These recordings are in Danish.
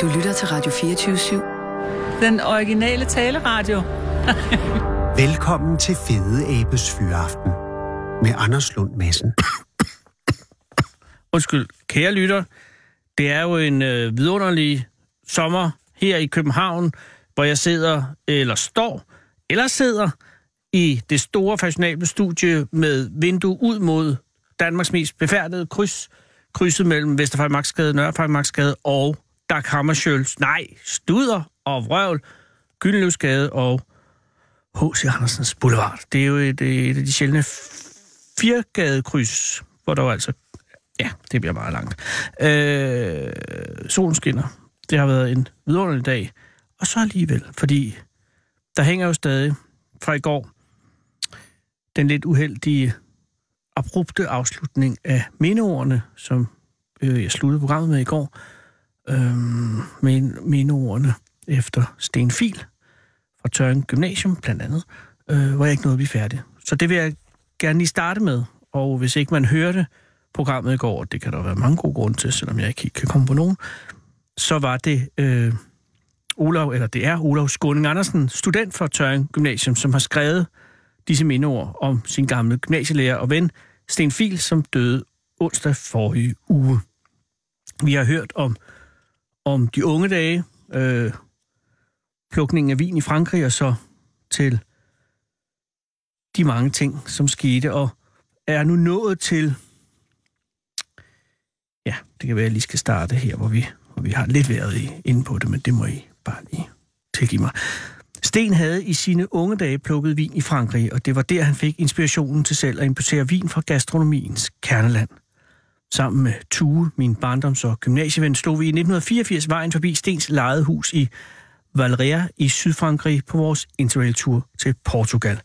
Du lytter til Radio 24 /7. Den originale taleradio. Velkommen til Fede Abes Fyraften med Anders Lund Madsen. Undskyld, kære lytter. Det er jo en øh, vidunderlig sommer her i København, hvor jeg sidder, eller står, eller sidder i det store fashionable studie med vindue ud mod Danmarks mest befærdede kryds, krydset mellem Vesterfejmarksgade, Nørrefejmarksgade og Dag Hammarskjølds, nej, Studer og Vrøvl, Gyldenløvsgade og H.C. Andersens Boulevard. Det er jo et, øh, et af de sjældne f- firgadekryds, hvor der jo altså... Ja, det bliver meget langt. Øh, solen skinner. Det har været en vidunderlig dag. Og så alligevel, fordi der hænger jo stadig fra i går den lidt uheldige, abrupte afslutning af mindeordene, som øh, jeg sluttede programmet med i går. Øh, men mindeordene efter Sten Fil fra Tøring Gymnasium, blandt andet, øh, hvor jeg ikke nåede at blive færdig. Så det vil jeg gerne lige starte med, og hvis ikke man hørte programmet i går, og det kan der være mange gode grunde til, selvom jeg ikke helt kan komme på nogen, så var det øh, Olav, eller det er Olav Skåning Andersen, student fra Tøring Gymnasium, som har skrevet disse mindeord om sin gamle gymnasielærer og ven, Sten Fil, som døde onsdag forrige uge. Vi har hørt om, om de unge dage, øh, plukningen af vin i Frankrig, og så til de mange ting, som skete, og er nu nået til... Ja, det kan være, at jeg lige skal starte her, hvor vi, hvor vi har lidt været i, inde på det, men det må I bare lige tilgive mig. Sten havde i sine unge dage plukket vin i Frankrig, og det var der, han fik inspirationen til selv at importere vin fra gastronomiens kerneland. Sammen med Tue, min barndoms- og gymnasieven, slog vi i 1984 vejen forbi Stens lejede hus i Valeria i Sydfrankrig på vores interrail-tur til Portugal.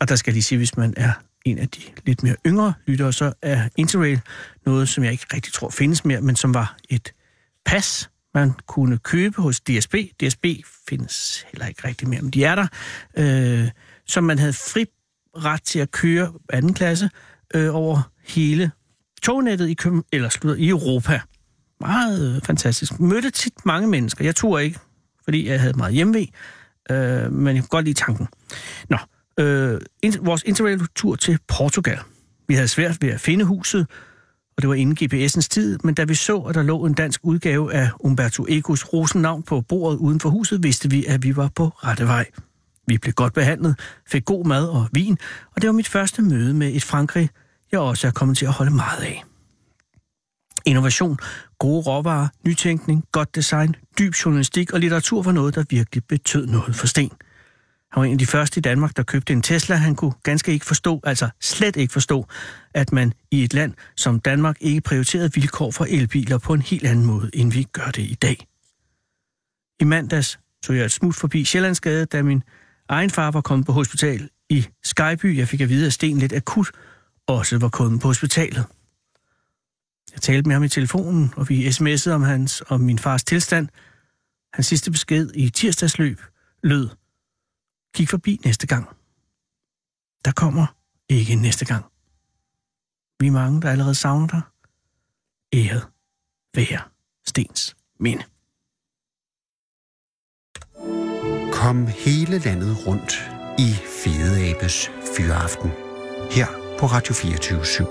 Og der skal jeg lige sige, hvis man er en af de lidt mere yngre lyttere, så er interrail noget, som jeg ikke rigtig tror findes mere, men som var et pas, man kunne købe hos DSB. DSB findes heller ikke rigtig mere, men de er der. Øh, som man havde fri ret til at køre anden klasse øh, over hele tognettet i, Køben, eller slutter, i Europa. Meget øh, fantastisk. Mødte tit mange mennesker. Jeg tog ikke, fordi jeg havde meget hjemmevæg, øh, men jeg kunne godt lide tanken. Nå, øh, in- vores interrail-tur til Portugal. Vi havde svært ved at finde huset, og det var inden GPS'ens tid, men da vi så, at der lå en dansk udgave af Umberto Ecos Rosennavn på bordet uden for huset, vidste vi, at vi var på rette vej. Vi blev godt behandlet, fik god mad og vin, og det var mit første møde med et Frankrig, jeg også er kommet til at holde meget af. Innovation, gode råvarer, nytænkning, godt design, dyb journalistik og litteratur var noget, der virkelig betød noget for Sten. Han var en af de første i Danmark, der købte en Tesla. Han kunne ganske ikke forstå, altså slet ikke forstå, at man i et land som Danmark ikke prioriterede vilkår for elbiler på en helt anden måde, end vi gør det i dag. I mandags tog jeg et smut forbi Sjællandsgade, da min egen far var kommet på hospital i Skyby. Jeg fik at vide, at Sten lidt akut også var kommet på hospitalet. Jeg talte med ham i telefonen, og vi sms'ede om hans og min fars tilstand. Hans sidste besked i tirsdagsløb lød, kig forbi næste gang. Der kommer ikke en næste gang. Vi er mange, der allerede savner dig. Æret være Stens minde. Kom hele landet rundt i Fede Abes Fyraften her på Radio 24 7.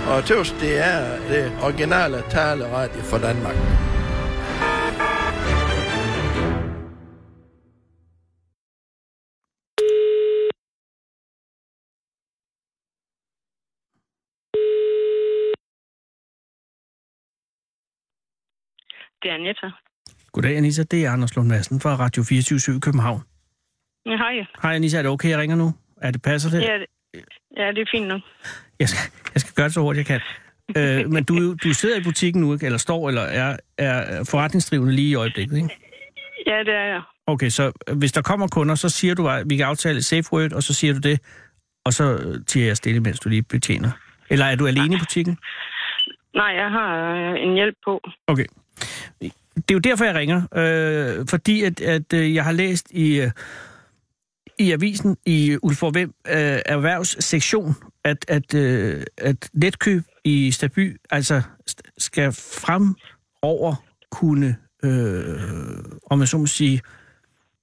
Og tøvs, det er det originale taleradio for Danmark. Det er Anette. Goddag, Anissa. Det er Anders Lund Madsen fra Radio 24 i København. Ja, Hej. Hej, Anissa. Er det okay, jeg ringer nu? Er det passer det? Ja, det- ja, det er fint nu. Jeg, skal, jeg skal gøre det så hurtigt, jeg kan. øh, men du, du sidder i butikken nu, ikke? Eller står, eller er, er forretningsdrivende lige i øjeblikket, ikke? Ja, det er jeg. Okay, så øh, hvis der kommer kunder, så siger du, at vi kan aftale et safe word, og så siger du det, og så øh, tiger jeg stille, mens du lige betjener. Eller er du alene i butikken? Nej, jeg har øh, en hjælp på. Okay. Det er jo derfor, jeg ringer. Øh, fordi at, at øh, jeg har læst i, øh, i avisen i Ulfborg Vem øh, erhvervssektion, at, at, øh, at netkøb i Staby altså st- skal frem over kunne, øh, om man så må sige,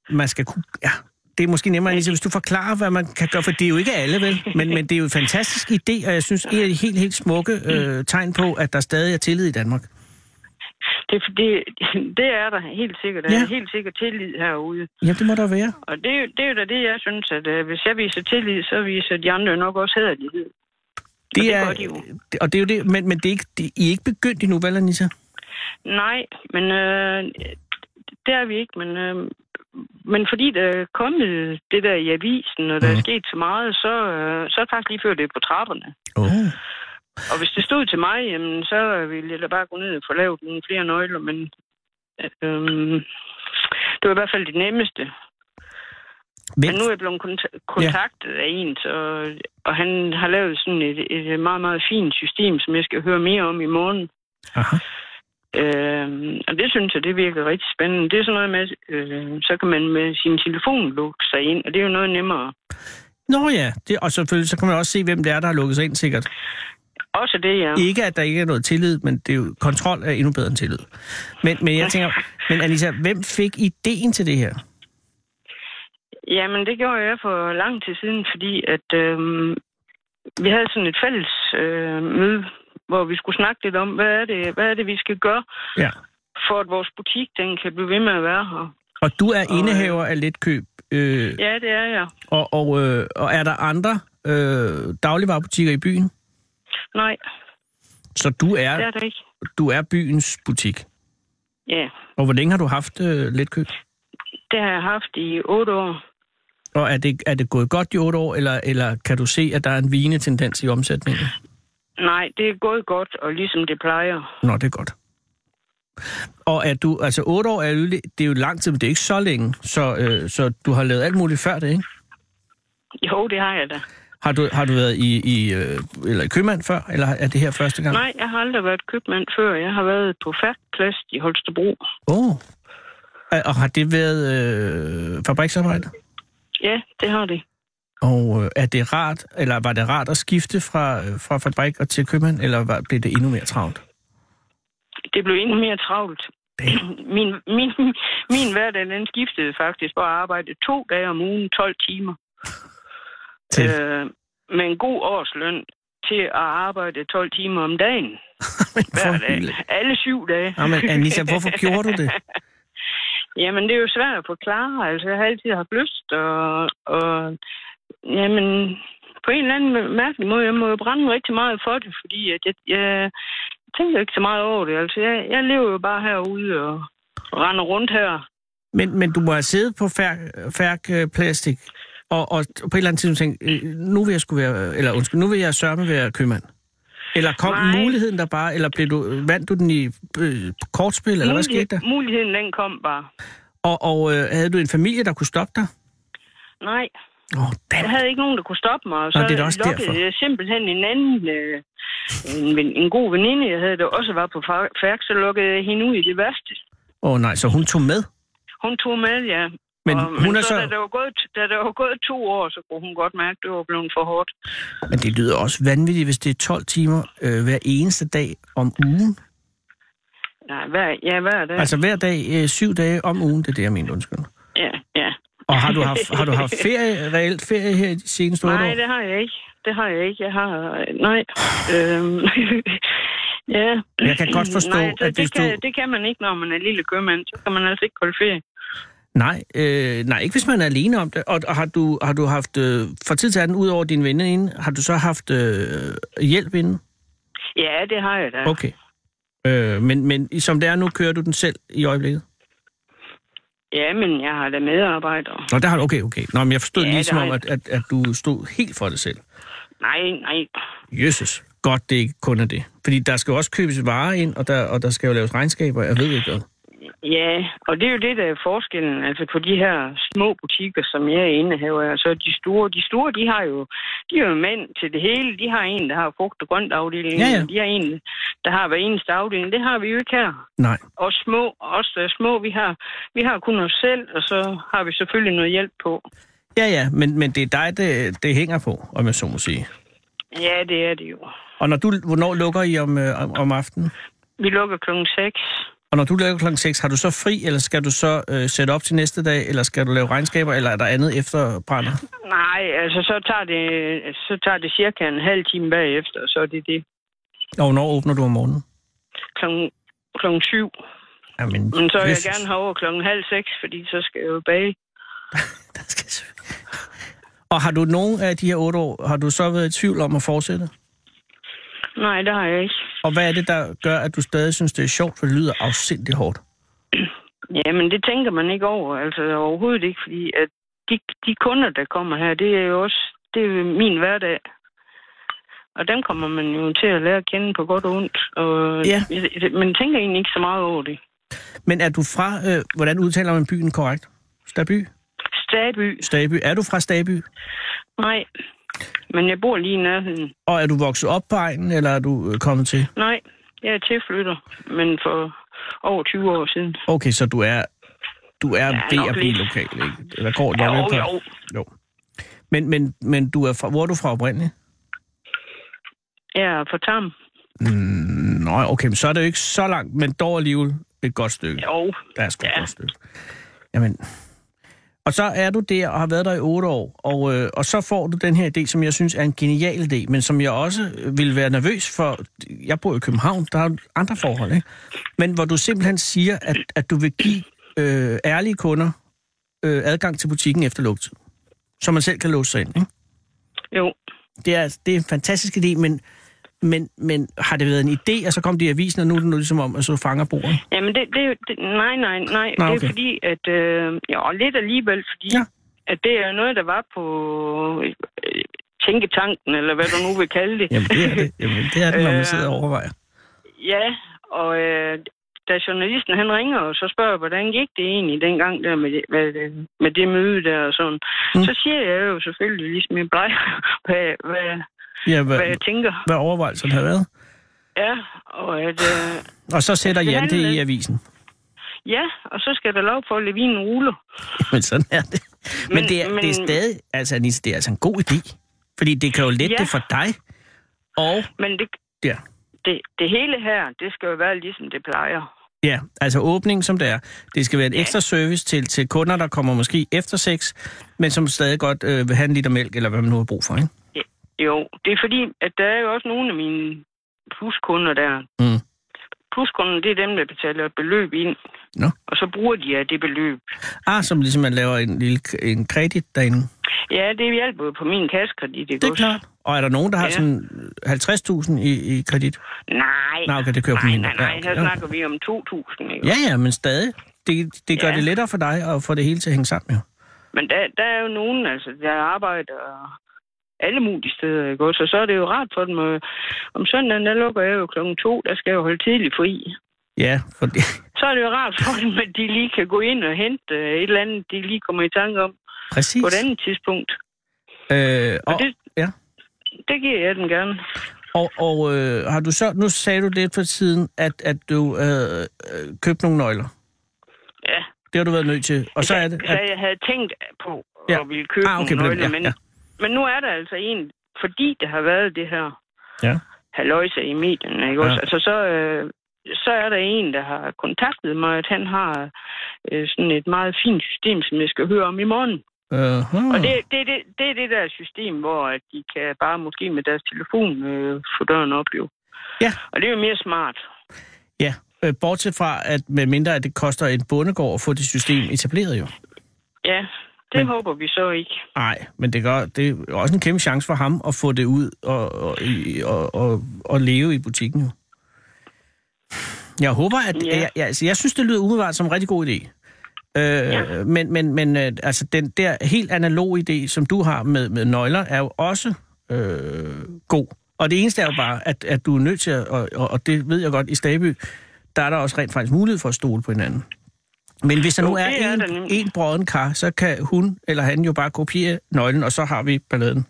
man skal kunne, ja, det er måske nemmere, Elisa, hvis du forklarer, hvad man kan gøre, for det er jo ikke alle, vel? Men, men det er jo en fantastisk idé, og jeg synes, det er et helt, helt smukke øh, tegn på, at der stadig er tillid i Danmark. Det, er fordi- det er der helt sikkert. Der Ja. er helt sikkert tillid herude. Ja, det må der være. Og det, er jo- det er jo da det, jeg synes, at øh, hvis jeg viser tillid, så viser de andre nok også hæderlighed. Det, det er, gør de jo. det- Og det er jo det, men, men det er ikke, det, I er ikke begyndt endnu, vel, Anissa? Nej, men øh, det er vi ikke. Men, øh, men fordi der er kommet det der i avisen, og der er sket så meget, så, øh, så er det faktisk lige før det er på trapperne. Oh. Og hvis det stod til mig, jamen, så ville jeg da bare gå ned og få lavet nogle flere nøgler, men øh, det var i hvert fald det nemmeste. Men nu er jeg blevet kont- kontaktet ja. af en, så, og han har lavet sådan et, et meget, meget fint system, som jeg skal høre mere om i morgen. Aha. Øh, og det synes jeg, det virker rigtig spændende. Det er sådan noget med, øh, så kan man med sin telefon lukke sig ind, og det er jo noget nemmere. Nå ja, det, og selvfølgelig så kan man også se, hvem det er, der har lukket sig ind sikkert. Også det, ja. Ikke at der ikke er noget tillid, men det er jo, kontrol er endnu bedre end tillid. Men, men jeg tænker, men Anissa, hvem fik ideen til det her? Jamen, det gjorde jeg for lang tid siden, fordi at øh, vi havde sådan et fælles øh, møde, hvor vi skulle snakke lidt om, hvad er, det, hvad er det, vi skal gøre, Ja. for at vores butik den kan blive ved med at være her. Og du er indehaver af Letkøb, øh, øh- Ja, det er jeg. og, og, øh, og er der andre øh, dagligvarerbutikker i byen? Nej, Så du det er, er det ikke. du er byens butik. Ja, Og hvor længe har du haft øh, Letkøb? det har jeg haft i otte år. Og er det, er det gået godt i otte år, eller, eller kan du se, at der er en vigende tendens i omsætningen? Nej, det er gået godt, og ligesom det plejer. Nå, det er godt. Og er du, altså otte år er jo, det er jo lang tid, men det er ikke så længe, så, øh, så du har lavet alt muligt før det, ikke? Jo, det har jeg da. Har du, har du været i, i, øh, eller i købmand før, eller er det her første gang? Nej, jeg har aldrig været købmand før. Jeg har været på Færkplast i Holstebro. Åh. Oh. Og har det været øh, fabriksarbejde? Ja, det har det. Og øh, er det rart, eller var det rart at skifte fra, øh, fra fabrik og til købmand, eller var, blev det endnu mere travlt? Det blev endnu mere travlt. Min, min, min hverdag, den skiftede faktisk for at arbejde to dage om ugen, 12 timer. Til. Øh, med en god årsløn til at arbejde 12 timer om dagen. Hver dag. For- Alle syv dage. Nå, men Anissa, hvorfor gjorde du det? Jamen, det er jo svært at forklare. Altså, jeg har altid haft lyst, og, og jamen, på en eller anden mærkelig måde, jeg må jo brænde rigtig meget for det, fordi at jeg, jeg tænker ikke så meget over det. Altså, jeg, jeg lever jo bare herude og render rundt her. Men, men du må have siddet på færk, færk øh, plastik, og, og på et eller andet tidspunkt tænkt, øh, nu vil jeg skulle være, eller undskyld, nu vil jeg sørge med at være købmand. Eller kom Nej. Nej. muligheden der bare, eller blev du, øh, vandt du den i øh, kortspil, eller hvad skete der? Muligheden, den kom bare. Og, og øh, havde du en familie, der kunne stoppe dig? Nej, Åh, oh, jeg damn. havde ikke nogen, der kunne stoppe mig, og så Nå, det er da også lokkede derfor. jeg simpelthen en anden, øh, en, ven- en god veninde, jeg havde, der også var på fa- færk, så lukkede jeg hende ud i det værste. Åh oh, nej, så hun tog med. Hun tog med, ja. Men og, hun men er så, så- Da, der var gået, da der var gået to år, så kunne hun godt mærke, at det var blevet for hårdt. Men det lyder også vanvittigt, hvis det er 12 timer øh, hver eneste dag om ugen. Nej, hver, ja, hver dag. Altså hver dag, øh, syv dage om ugen, det er det, jeg mener, undskyld. ja, ja. Og har du haft, har du haft ferie, reelt ferie her i de seneste otte år? Nej, det har jeg ikke. Det har jeg ikke. Jeg har... Nej. Øhm, ja. Jeg kan godt forstå, Nej, det, at hvis det, kan, du- det kan man ikke, når man er lille købmand. Så kan man altså ikke holde ferie. Nej, øh, nej, ikke hvis man er alene om det. Og, og har, du, har du haft, øh, fra tid til anden, ud over din veninde, har du så haft øh, hjælp inden? Ja, det har jeg da. Okay. Øh, men, men som det er nu, kører du den selv i øjeblikket? Ja, men jeg har da medarbejdere. Nå, der har du, okay, okay. Nå, men jeg forstod Ja, ja, lige det som har om, jeg. at, at, at du stod helt for dig selv. Nej, nej. Jesus, godt det ikke kun er det. Fordi der skal jo også købes varer ind, og der, og der skal jo laves regnskaber, jeg ved ikke hvad. Ja, og det er jo det, der er forskellen altså på de her små butikker, som jeg indehaver. Altså de store, de store, de har jo, de er jo mænd til det hele. De har en, der har frugt- og grønt afdelingen. Ja, ja. De har en, der har hver eneste afdeling. Det har vi jo ikke her. Nej. Og små, os der er små, vi har, vi har kun os selv, og så har vi selvfølgelig noget hjælp på. Ja, ja, men, men det er dig, det, det hænger på, om jeg så må sige. Ja, det er det jo. Og når du, hvornår lukker I om, øh, om, om aftenen? Vi lukker klokken 6. Og når du laver klokken 6, har du så fri, eller skal du så øh, sætte op til næste dag, eller skal du lave regnskaber, eller er der andet efter brænder? Nej, altså så tager det, så tager det cirka en halv time bagefter, og så er det det. Og hvornår åbner du om morgenen? Klokken, klokken syv. Jamen, Men så vil jeg Jesus. gerne have over klokken halv seks, fordi så skal jeg jo bage. Der skal sø- Og har du nogen af de her otte år, har du så været i tvivl om at fortsætte? Nej, det har jeg ikke. Og hvad er det, der gør, at du stadig synes, det er sjovt, for det lyder afsindig hårdt? Jamen, det tænker man ikke over, altså overhovedet ikke, fordi at de, de kunder, der kommer her, det er jo også det er jo min hverdag. Og dem kommer man jo til at lære at kende på godt og ondt. Og Ja. Man tænker egentlig ikke så meget over det. Men er du fra, øh, hvordan udtaler man byen korrekt? Staby? Staby? Staby. Er du fra Staby? Nej. Men jeg bor lige i nærheden. Og er du vokset op på egnen, eller er du øh, kommet til? Nej, jeg er tilflytter, men for over 20 år siden. Okay, så du er, du er Ja, nok B&B lidt. lokal, ikke? Eller går det? Jo, jeg ved ikke. jo. jo. Men, men, men du er fra, hvor er du fra oprindeligt? Jeg er for tam. Nå, okay, men så er det jo ikke så langt, men dog alligevel et godt stykke. Jo, Der er sgu ja. Ja. et godt stykke. Jamen. Og så er du der og har været der i otte år, og, øh, og så får du den her idé, som jeg synes er en genial idé, men som jeg også øh, ville være nervøs for. Jeg bor i København, der er jo andre forhold, ikke? Men hvor du simpelthen siger, at, at du vil give øh, ærlige kunder øh, adgang til butikken efter lukketid, så man selv kan låse sig ind, ikke? jo. det er, det er en fantastisk idé, men, men, men har det været en idé, og så kom det i avisen, og nu er det nu ligesom om, at så fanger bordet? Jamen, det, det, er jo- det, nej, nej, nej. Nå, Nå, okay. okay. Det er fordi, at... Øh, ja, og lidt alligevel, fordi... Ja. Ja. At det er jo noget, der var på øh, øh, tænketanken, eller hvad du nu vil kalde det. Jamen, det er det, Jamen, det, er det når man Øh. sidder og overvejer. ja, og øh, da journalisten han ringer, og så spørger, jeg, hvordan gik det egentlig dengang der med det, med det, med det møde der og sådan. Mm. Mm. Så siger jeg jo selvfølgelig ligesom jeg plejer, hvad, hvad, Ja, hvad, hvad jeg tænker. hvad overvejelserne har været. Ja, og at... Øh, Og så sætter skal Jan det handle. i avisen. ja, og så skal der lov for at levinen ruller. Men sådan er det. Men, men, Men- det, er, men... det er men- stadig, altså Anissa, det er altså en god idé. Fordi det kan jo lette Ja. det for dig. Og, Men det, ja, det, det hele her, det skal jo være ligesom det plejer. Ja, altså åbningen som det er. Det skal være en ekstra service til, til kunder, der kommer måske efter seks, men som stadig godt øh, vil have en liter mælk, eller hvad man nu har brug for, ikke? Jo, det er fordi, at der er jo også nogle af mine pluskunder der. Mm. Pluskunderne, det er dem, der betaler et beløb ind. Nå. Og så bruger de af det beløb. Ah, som ligesom man laver en lille k- en kredit derinde. Ja, det hjælper jo på min kassekredit, ikke Det er også? klart. Og er der nogen, der har Ja. sådan 50.000 i, i kredit? Nej. Nej, okay, det kører på nej, min. nej, Ja, nej, okay, her ja. snakker vi om 2.000, ikke? Ja, ja, men stadig. Det, det gør Ja. det lettere for dig at få det hele til at hænge sammen, jo. Men der, der er jo nogen, altså, der arbejder alle mulige steder, ikke også? Og så er det jo rart for dem. øh, Om søndagen, der lukker jeg jo klokken to, der skal jeg jo holde tidlig fri. Ja, for det, Så er det jo rart for dem, at de lige kan gå ind og hente øh, et eller andet, de lige kommer i tanke om præcis. på et andet tidspunkt. Øh, og, Og det, ja. det giver jeg dem gerne. Og, og øh, har du så, nu sagde du lidt for tiden, at, at du øh, øh, købte nogle nøgler. Ja. Det har du været nødt til. Og så er det, Så at, Altså, jeg havde tænkt på at Ja. ja. ville købe Ah, ah, okay, okay, på nogle den, nøgler, ja, men, ja. men nu er der altså en, fordi der har været det her Ja. haløjse i medierne, ikke Ja. ja. også? Altså, så, øh, så er der en, der har kontaktet mig, at han har øh, sådan et meget fint system, som jeg skal høre om i morgen. øh, Og det, det, er det, det er det der system, hvor at de kan bare måske med deres telefon øh, få døren op, jo. Ja. Og det er jo mere smart. ja, øh, bortset fra, at med mindre at det koster en bondegård at få det system etableret jo. Ja, det men... håber vi så ikke. Nej, men det, gør, det er også en kæmpe chance for ham at få det ud og, og, i- og, og, og leve i butikken. jo. Jeg håber, at... Ja. Ja. Jeg, jeg, altså, jeg synes, det lyder umiddelbart som en rigtig god idé. Øh, ja. Men, men, men øh, altså, den der helt analog idé, som du har med, med nøgler, er jo også øh, god. Og det eneste er jo bare, at, at du er nødt til at... Og, og og det ved jeg godt, i Staby, der er der også rent faktisk mulighed for at stole på hinanden. Men hvis der Jo, nu er, det er en, der nemlig. en brøden kar, så kan hun eller han jo bare kopiere nøglen, og så har vi balladen.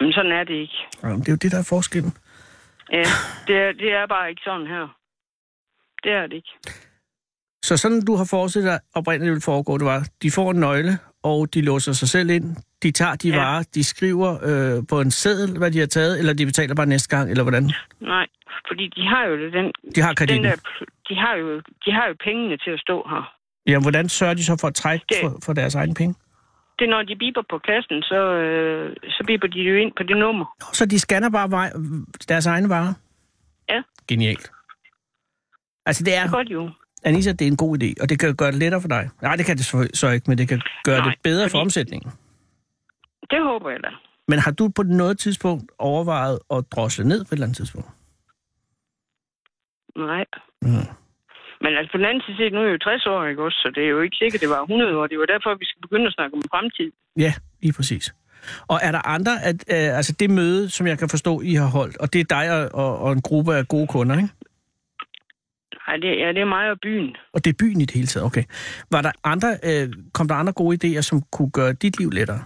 Men sådan er det ikke. Jamen, det er jo det, der er forskellen. Ja, det er, det er bare ikke sådan her. Det er det ikke. Så sådan du har forestillet dig oprindeligt ville foregå, det var, de får en nøgle, og de låser sig selv ind, de tager de ja. Ja. varer, de skriver øh, på en seddel, hvad de har taget, eller de betaler bare næste gang, eller hvordan? Nej, fordi de har jo det, den, De har kreditten. den der pl- de har jo, de har jo pengene til at stå her. Jamen, hvordan sørger de så for at trække Det- for, for deres egne penge? Det er, når de biber på kassen, så, øh, så biber de jo ind på det nummer. Nå, så de scanner bare vej, deres egne varer? Ja. Genialt. Altså, det Ja. er, Det gør de jo. Anissa, det er en god idé, og det kan gøre det lettere for dig. Nej, det kan det så- så ikke, men det kan gøre Nej, det bedre for fordi- omsætningen. Det håber jeg da. Men har du på noget tidspunkt overvejet at drosle ned på et eller andet tidspunkt? Nej. Mm. Men altså på den anden side set, nu er jeg jo 60 år, ikke også? Så det er jo ikke sikkert, det var 100 år. Det var derfor, vi skal begynde at snakke om fremtid. Ja, lige præcis. Og er der andre, at, øh, altså det møde, som jeg kan forstå, I har holdt, og det er dig og, og, og en gruppe af gode kunder, ikke? Nej, det, ja, det er mig og byen. Og det er byen i det hele taget, okay. Var der andre, øh, kom der andre gode idéer, som kunne gøre dit liv lettere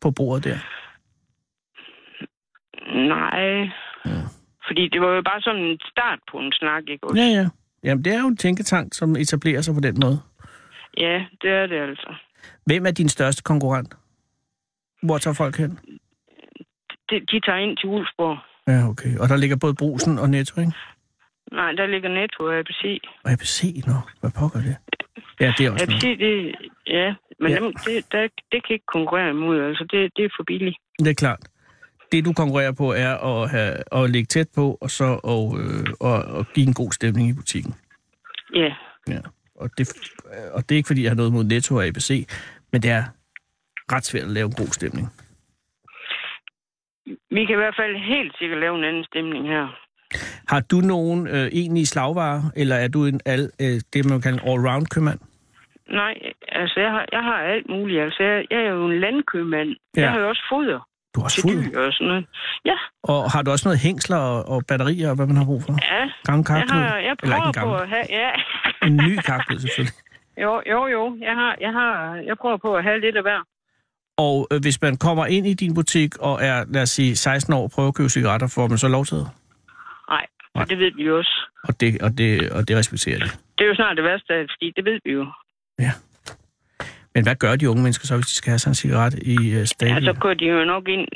på bordet der? Nej. Ja. Fordi det var jo bare sådan en start på en snak, ikke også? Ja, ja. Jamen, det er jo en tænketank, som etablerer sig på den måde. ja det er det altså. Hvem er din største konkurrent? Hvor tager folk hen? De, de tager ind til Ulfborg. Ja, okay. Og der ligger både Brusen og Netto, ikke? Nej, der ligger Netto og ABC. Og ABC, nå, hvad pokker det? Ja, det er også ABC, noget. det, ja, men Ja. ja. Dem, det, der, det kan ikke konkurrere imod. Altså, det, det er for billigt. Det er klart. Det, du konkurrerer på, er at, have, at ligge tæt på, og så og, øh, og, og give en god stemning i butikken. Ja, Ja. Og, det, og det er ikke, fordi jeg har noget mod Netto og ABC, men det er ret svært at lave en god stemning. vi kan i hvert fald helt sikkert lave en anden stemning her. Har du nogen øh, egentlige slagvarer, eller er du en al, øh, det, man kalder en all-round købmand? Nej, altså jeg har, jeg har alt muligt. Altså jeg, jeg er jo en landkøbmand. Ja. Ja. Jeg har jo også foder Du har til fuld. dyr og sådan noget. Ja, Og har du også noget hængsler og, og batterier, og hvad man har brug for? ja. Gammel Jeg, karklud? har, jeg Eller ikke en prøver på gammel. at have... Ja. En ny karklud, selvfølgelig. Jo, jo, jo. Jeg, har, jeg, har, jeg prøver på at have lidt af hver. Og øh, hvis man kommer ind i din butik og er, lad os sige, 16 år og prøver at købe cigaretter, får man så lov til det. Nej, Nej. og det ved vi jo også. Og det, og det, og det respekterer de. Det er jo snart det værste, af det, fordi det ved vi jo. Men hvad gør de unge mennesker så, hvis de skal have sig en cigaret i øh, Ja, stadig? så kører Altså, de jo nok ind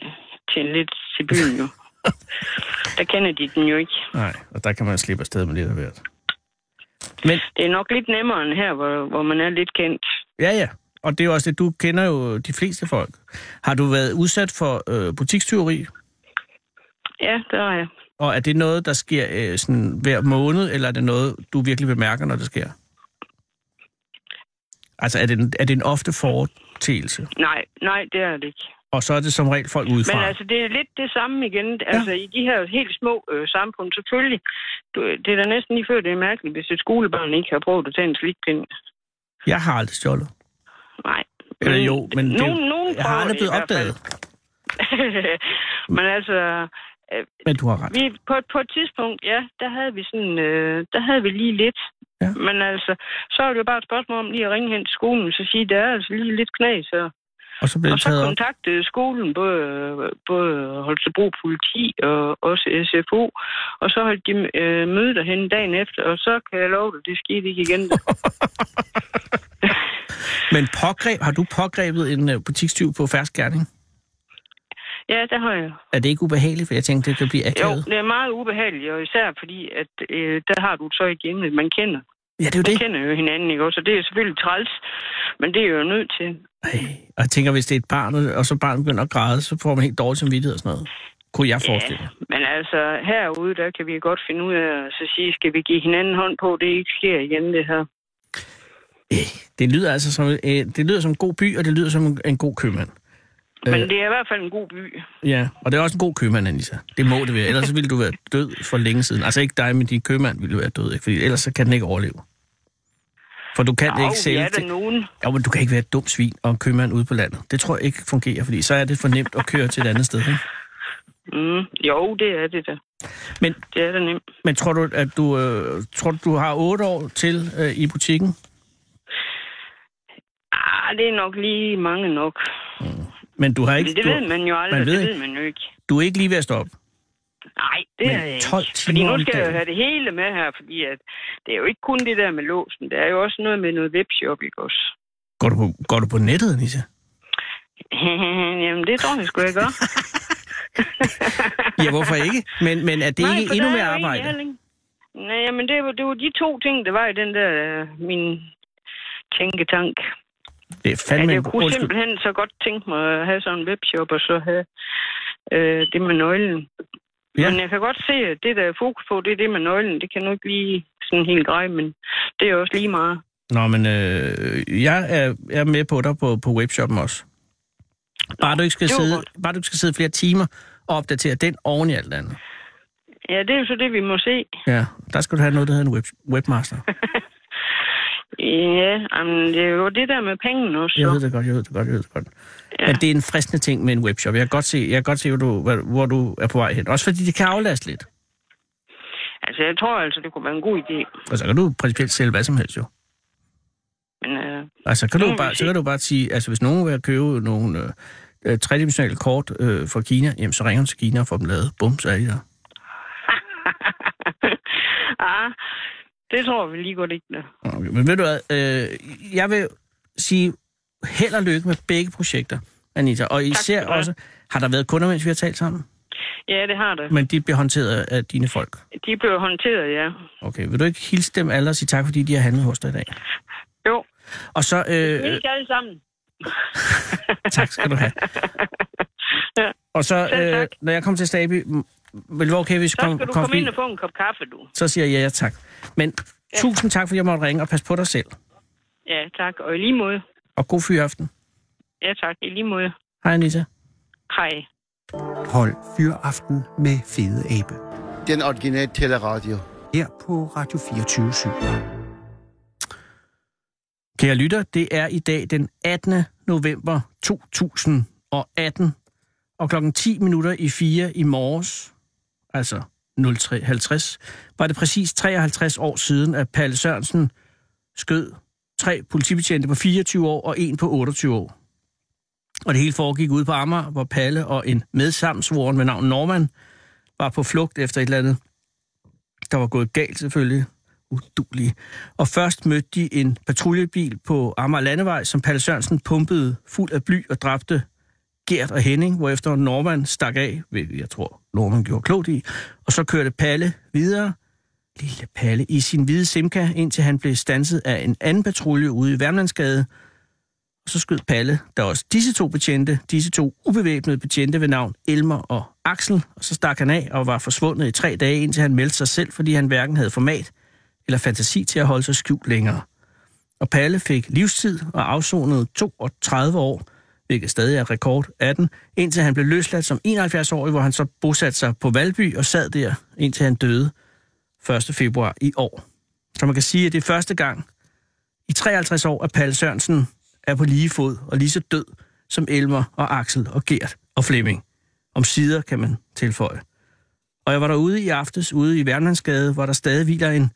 til lidt til byen jo. Der kender de den jo ikke. Nej, og der kan man slippe afsted med lidt af hvert. Men, Det er nok lidt nemmere end her, hvor, hvor man er lidt kendt. ja ja, og det er jo også det, du kender jo de fleste folk. Har du været udsat for øh, butikstyveri? Ja, der er jeg. Og er det noget, der sker øh, sådan hver måned, eller er det noget, du virkelig bemærker, når det sker? Altså, er det en, er det en ofte foretagelse? Nej, nej, det er det ikke. Og så er det som regel folk udefra? Men altså, det er lidt det samme igen. Altså, i de her helt små øh, samfund, selvfølgelig. Du, det er da næsten lige før, det er mærkeligt, hvis et skolebarn ikke har prøvet at tage en slikpind. Jeg har aldrig stjålet. Nej. Eller jo, men det, Mm, nogen, nogen jeg har prøver aldrig det blevet i hvert fald. opdaget. men altså, Men du har ret. Vi, på, på et tidspunkt, ja, der havde vi sådan, øh, der havde vi lige lidt. Ja. Men altså, så er det jo bare et spørgsmål om lige at ringe hen til skolen, og så sige, der er altså lige lidt knas her. Og så blev Og det så taget op. kontaktede skolen både, både Holstebro Politi og også SFO, og så holdt de øh, møde derhen dagen efter, og så kan jeg love dig, det skete ikke igen. Men pågreb, har du pågrebet en øh, butikstyv på fersk gerning? ja, der har jeg. Er det ikke ubehageligt? For jeg tænkte, det kan blive Jo, akavet. det er meget ubehageligt, og især fordi, at øh, der har du så igen, at man kender. Ja, det er jo Man det. kender jo hinanden, ikke også? Og det er selvfølgelig træls, men det er jeg jo nødt til. Ej, og jeg tænker, hvis det er et barn, og så barnet begynder at græde, så får man helt dårlig samvittighed og sådan noget. Kunne jeg forestille mig. Men altså, herude, der kan vi godt finde ud af at så sige, skal vi give hinanden hånd på, det ikke sker igen, det her. Det lyder altså som, øh, det lyder som en god by, og det lyder som en, en god købmand. Men Øh. det er i hvert fald en god by. Ja, og det er også en god købmand, Anissa. Det må det være. Ellers ville du være død for længe siden. Altså ikke dig, men din købmand ville være død, ikke? Fordi ellers så kan den ikke overleve. For du kan Au, ikke vi sælge er der nogen. Jo, men du kan ikke være et dumt svin og en købmand ude på landet. Det tror jeg ikke fungerer, fordi så er det for nemt at køre til et andet sted. Ikke? Mm, jo, det er det da. Men- Det er da nemt. Men tror du, at du, øh, tror du, du har otte år til øh, i butikken? Ah, det er nok lige mange nok. Men du har Men ikke... det du, ved man jo aldrig, man ved det ikke. ved man jo ikke. Du er ikke lige ved at stoppe. Nej, det Men er jeg 12 ikke. timer Fordi nu om skal jeg jo dagen. have det hele med her, fordi at det er jo ikke kun det der med låsen. Det er jo også noget med noget webshop, ikke også? Går du på, går du på nettet, Anissa? Jamen, det tror jeg sgu, jeg gør. Ja, hvorfor ikke? Men, men er det Nej, ikke for endnu der mere er jo egentlig arbejde? heller ikke- Nej, men det var, det var de to ting, der var i den der øh, min tænketank. Det er fandme... At jeg en- kunne undskyld. simpelthen så godt tænke mig at have sådan en webshop, og så have øh, det med nøglen. Ja. Ja. Men jeg kan godt se, at det, der er fokus på, det er det med nøglen. Det kan nu ikke lige sådan helt greje, men det er også lige meget. Nå, men øh, jeg er, er med på dig på, på webshoppen også. Bare du, ikke skal det var sidde, godt. bare du ikke skal sidde flere timer og opdatere den oven i alt andet. Ja, det er jo så det, vi må se. Ja, der skal du have noget, der hedder en web, webmaster. Ja, jamen, det er jo det der med pengene også. Jeg så. ved det godt, jeg ved det godt, jeg ved det godt. Ja. Men det er en fristende ting med en webshop. Jeg kan godt se, jeg kan godt se hvor, du, hvor, hvor du er på vej hen. Også fordi det kan aflaste lidt. Altså, jeg tror altså, det kunne være en god idé. Og så kan du principielt sælge hvad som helst jo. Men øh, Altså, kan Det du må vi bare, så se. kan du bare sige, altså hvis nogen vil købe nogle øh, øh, tredimensionale kort øh, fra Kina, jamen så ringer du til Kina og får dem lavet. Bum, så er de der. ah, det tror vi lige godt ikke. Der. Okay, men ved du hvad, øh, jeg vil sige held og lykke med begge projekter, Anita. Og især skal du have. også, har der været kunder, mens vi har talt sammen? Ja, det har det. Men de bliver håndteret af dine folk. De blev håndteret, ja. Okay, vil du ikke hilse dem alle og sige tak, fordi de har handlet hos dig i dag? Jo, Og så, øh, øh, ikke alle sammen. tak skal du have. Og så, Selv øh, tak. når jeg kommer til Staby, vil det være okay, hvis Så jeg skal du kommer komme forbi? ind og få en kop kaffe, du. Så siger jeg ja, ja tak. Men tusind tak, fordi jeg måtte ringe, og pas på dig selv. Ja, tak. Og i lige måde. Og god fyraften. Ja, tak. I lige måde. Hej Anita. Hej. Hold Fyraften med Fede Abe. Den originale teleradio. Her på Radio 24 7. Kære lytter, det er i dag den 18. november 2018, og klokken 10 minutter i 4 i morges, altså 03.50, var det præcis 53 år siden, at Palle Sørensen skød tre politibetjente på 24 år og en på 28 år. Og det hele foregik ude på Amager, hvor Palle og en medsamsvoren med navn Norman var på flugt efter et eller andet, der var gået galt selvfølgelig. Udulige. Og først mødte de en patruljebil på Amager Landevej, som Palle Sørensen pumpede fuld af bly og dræbte Gert og Henning, hvorefter Norman stak af, hvilket jeg tror, Norman gjorde klogt i. Og så kørte Palle videre, lille Palle, i sin hvide Simca, indtil han blev stanset af en anden patrulje ude i Værmlandsgade. Og så skød Palle, der også disse to betjente, disse to ubevæbnede betjente ved navn Elmer og Axel, og så stak han af og var forsvundet i tre dage, indtil han meldte sig selv, fordi han hverken havde format eller fantasi til at holde sig skjult længere. Og Palle fik livstid og afsonede 32 år, hvilket stadig er rekord 18, indtil han blev løsladt som 71-årig, hvor han så bosatte sig på Valby og sad der, indtil han døde 1. februar i år. Så man kan sige, at det er første gang i 53 år, at Palle Sørensen er på lige fod og lige så død som Elmer og Axel og Gert og Flemming. Om sider kan man tilføje. Og jeg var derude i aftes, ude i Værmlandsgade, hvor der stadig hviler en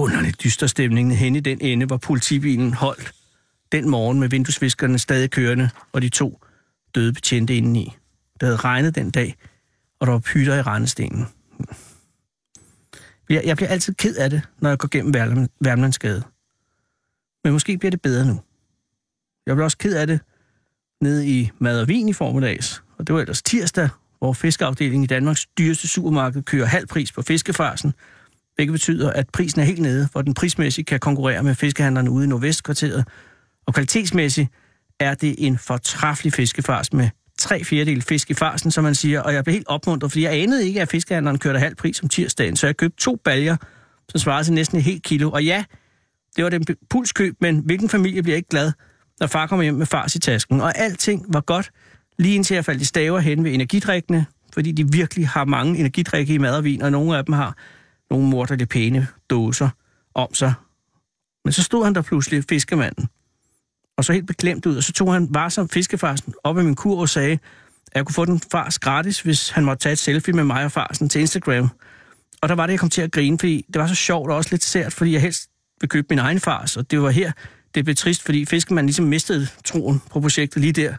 underlig dyster stemning hen i den ende, hvor politibilen holdt den morgen med vinduesviskerne stadig kørende og de to døde betjente indeni. Det havde regnet den dag, og der var pytter i rendestenen. Jeg, jeg bliver altid ked af det, når jeg går gennem Værlam- Værmlandsgade. Men måske bliver det bedre nu. Jeg blev også ked af det nede i Mad og Vin i formiddags, og det var ellers tirsdag, hvor fiskeafdelingen i Danmarks dyreste supermarked kører halv pris på fiskefarsen, hvilket betyder, at prisen er helt nede, hvor den prismæssigt kan konkurrere med fiskehandlerne ude i Nordvestkvarteret. Og kvalitetsmæssigt er det en fortræffelig fiskefars med tre fjerdedel fisk i farsen, som man siger. Og jeg blev helt opmuntret, fordi jeg anede ikke, at fiskehandleren kørte halv pris om tirsdagen, så jeg købte to baljer, som svarede til næsten et helt kilo. Og ja, det var den pulskøb, men hvilken familie bliver ikke glad, når far kommer hjem med fars i tasken? Og alting var godt, lige indtil jeg faldt i staver hen ved energidrikkene, fordi de virkelig har mange energidrikke i mad og vin, og nogle af dem har nogle morderligt pæne dåser om sig. Men så stod han der pludselig, fiskemanden, og så helt beklemt ud, og så tog han varsom fiskefarsen op af min kur og sagde, at jeg kunne få den fars gratis, hvis han måtte tage et selfie med mig og farsen til Instagram. Og der var det, jeg kom til at grine, fordi det var så sjovt og også lidt sært, fordi jeg helst ville købe min egen fars, og det var her, det blev trist, fordi fiskemanden ligesom mistede troen på projektet lige der.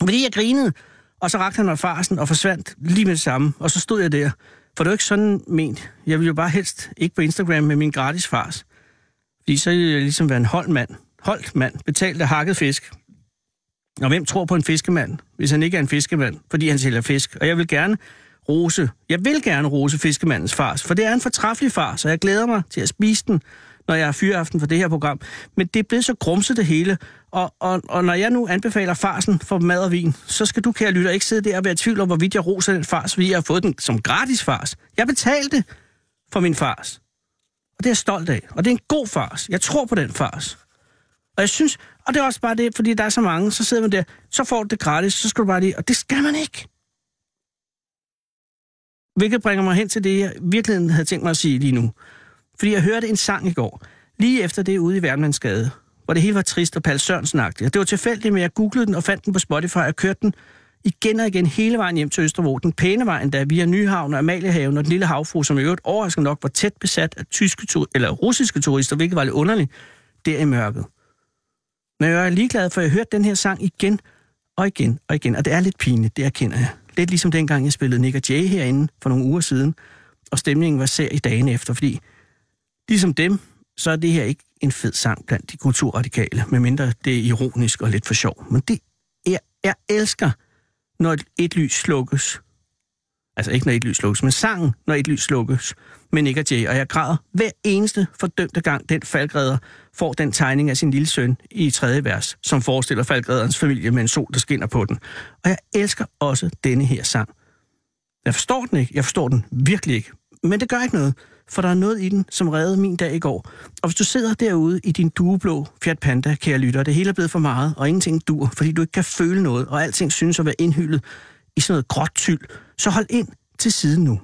Fordi jeg grinede, og så rakte han mig farsen og forsvandt lige med det samme, og så stod jeg der. For det var ikke sådan ment. Jeg ville jo bare helst ikke på Instagram med min gratis fars. Fordi så ville jeg ligesom være en holdmand. Holdt mand, betalt af hakket fisk. Og hvem tror på en fiskemand, hvis han ikke er en fiskemand, fordi han sælger fisk? Og jeg vil gerne rose. Jeg vil gerne rose fiskemandens fars, for det er en fortræffelig far, så jeg glæder mig til at spise den, når jeg er fyraften for det her program. Men det er blevet så grumset det hele, og, og, og når jeg nu anbefaler farsen for mad og vin, så skal du, kære lytter, ikke sidde der og være i tvivl om, hvorvidt jeg roser den fars, fordi jeg har fået den som gratis fars. Jeg betalte for min fars. Og det er jeg stolt af. Og det er en god fars. Jeg tror på den fars. Og jeg synes, og det er også bare det, fordi der er så mange, så sidder man der, så får du det gratis, så skal du bare lige, og det skal man ikke. Hvilket bringer mig hen til det, jeg virkelig havde tænkt mig at sige lige nu. Fordi jeg hørte en sang i går, lige efter det ude i Værmandsgade, hvor det hele var trist og Palle sørensen -agtigt. Det var tilfældigt, men jeg googlede den og fandt den på Spotify og kørte den igen og igen hele vejen hjem til Østerbro, den pæne vej endda via Nyhavn og Amaliehaven og den lille havfru, som i øvrigt overraskende nok var tæt besat af tyske tu- eller russiske turister, hvilket var lidt underligt, der i mørket. Men jeg er ligeglad, for jeg hørte den her sang igen og igen og igen. Og det er lidt pinligt, det erkender jeg. Lidt ligesom dengang, jeg spillede Nick og Jay herinde for nogle uger siden, og stemningen var sær i dagen efter, fordi ligesom dem, så er det her ikke en fed sang blandt de kulturradikale, medmindre det er ironisk og lidt for sjov. Men det, jeg, jeg elsker, når et, et lys slukkes. Altså ikke når et lys slukkes, men sangen, når et lys slukkes med Nick og Jay. Og jeg græder hver eneste fordømte gang, den faldgræder får den tegning af sin lille søn i tredje vers, som forestiller faldgræderens familie med en sol, der skinner på den. Og jeg elsker også denne her sang. Jeg forstår den ikke. Jeg forstår den virkelig ikke. Men det gør ikke noget, for der er noget i den, som reddede min dag i går. Og hvis du sidder derude i din dueblå Fiat Panda, kære lytter, det hele er blevet for meget, og ingenting dur, fordi du ikke kan føle noget, og alting synes at være indhyllet i sådan noget gråt tyld, så hold ind til siden nu.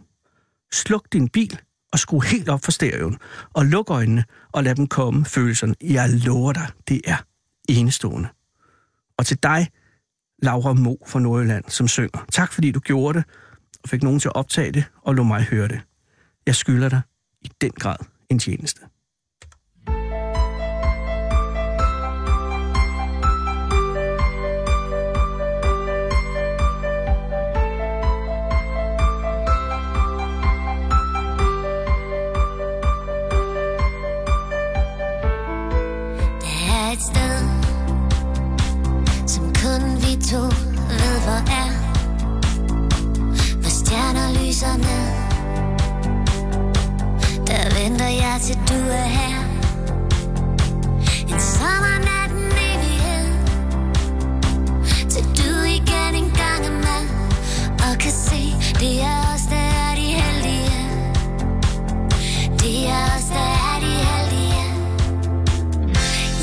Sluk din bil og skru helt op for stereoen, og luk øjnene og lad dem komme følelserne. Jeg lover dig, det er enestående. Og til dig, Laura Mo fra Nordjylland, som synger. Tak fordi du gjorde det, og fik nogen til at optage det, og lå mig høre det. Jeg skylder dig i den grad en tjeneste. Der er et sted, som kun vi to ved, hvor er. Hvor stjerner lyser ned. Der venter jeg til du er her. En sommernat, en evighed. Til du igen en gang er med. Og kan se, det er os, der er de heldige. Det er os, der er de heldige.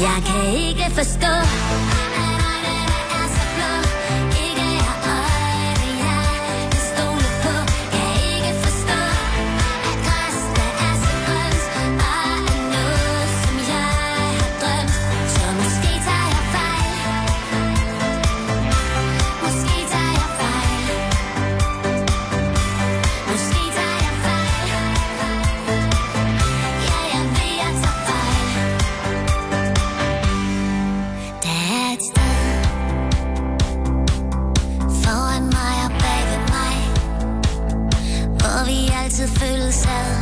Jeg kan ikke forstå at øjnene er så blå. Ikke er øjne, jeg kan stole på. Kan ikke forstå, at græsset er så grønt, og at noget, som jeg har drømt. Så måske tager jeg fejl. Måske tager jeg fejl. Måske tager jeg fejl. Ja, jeg ved, jeg tager fejl. Der er et sted Foran mig og bag ved mig Hvor vi altid føles ad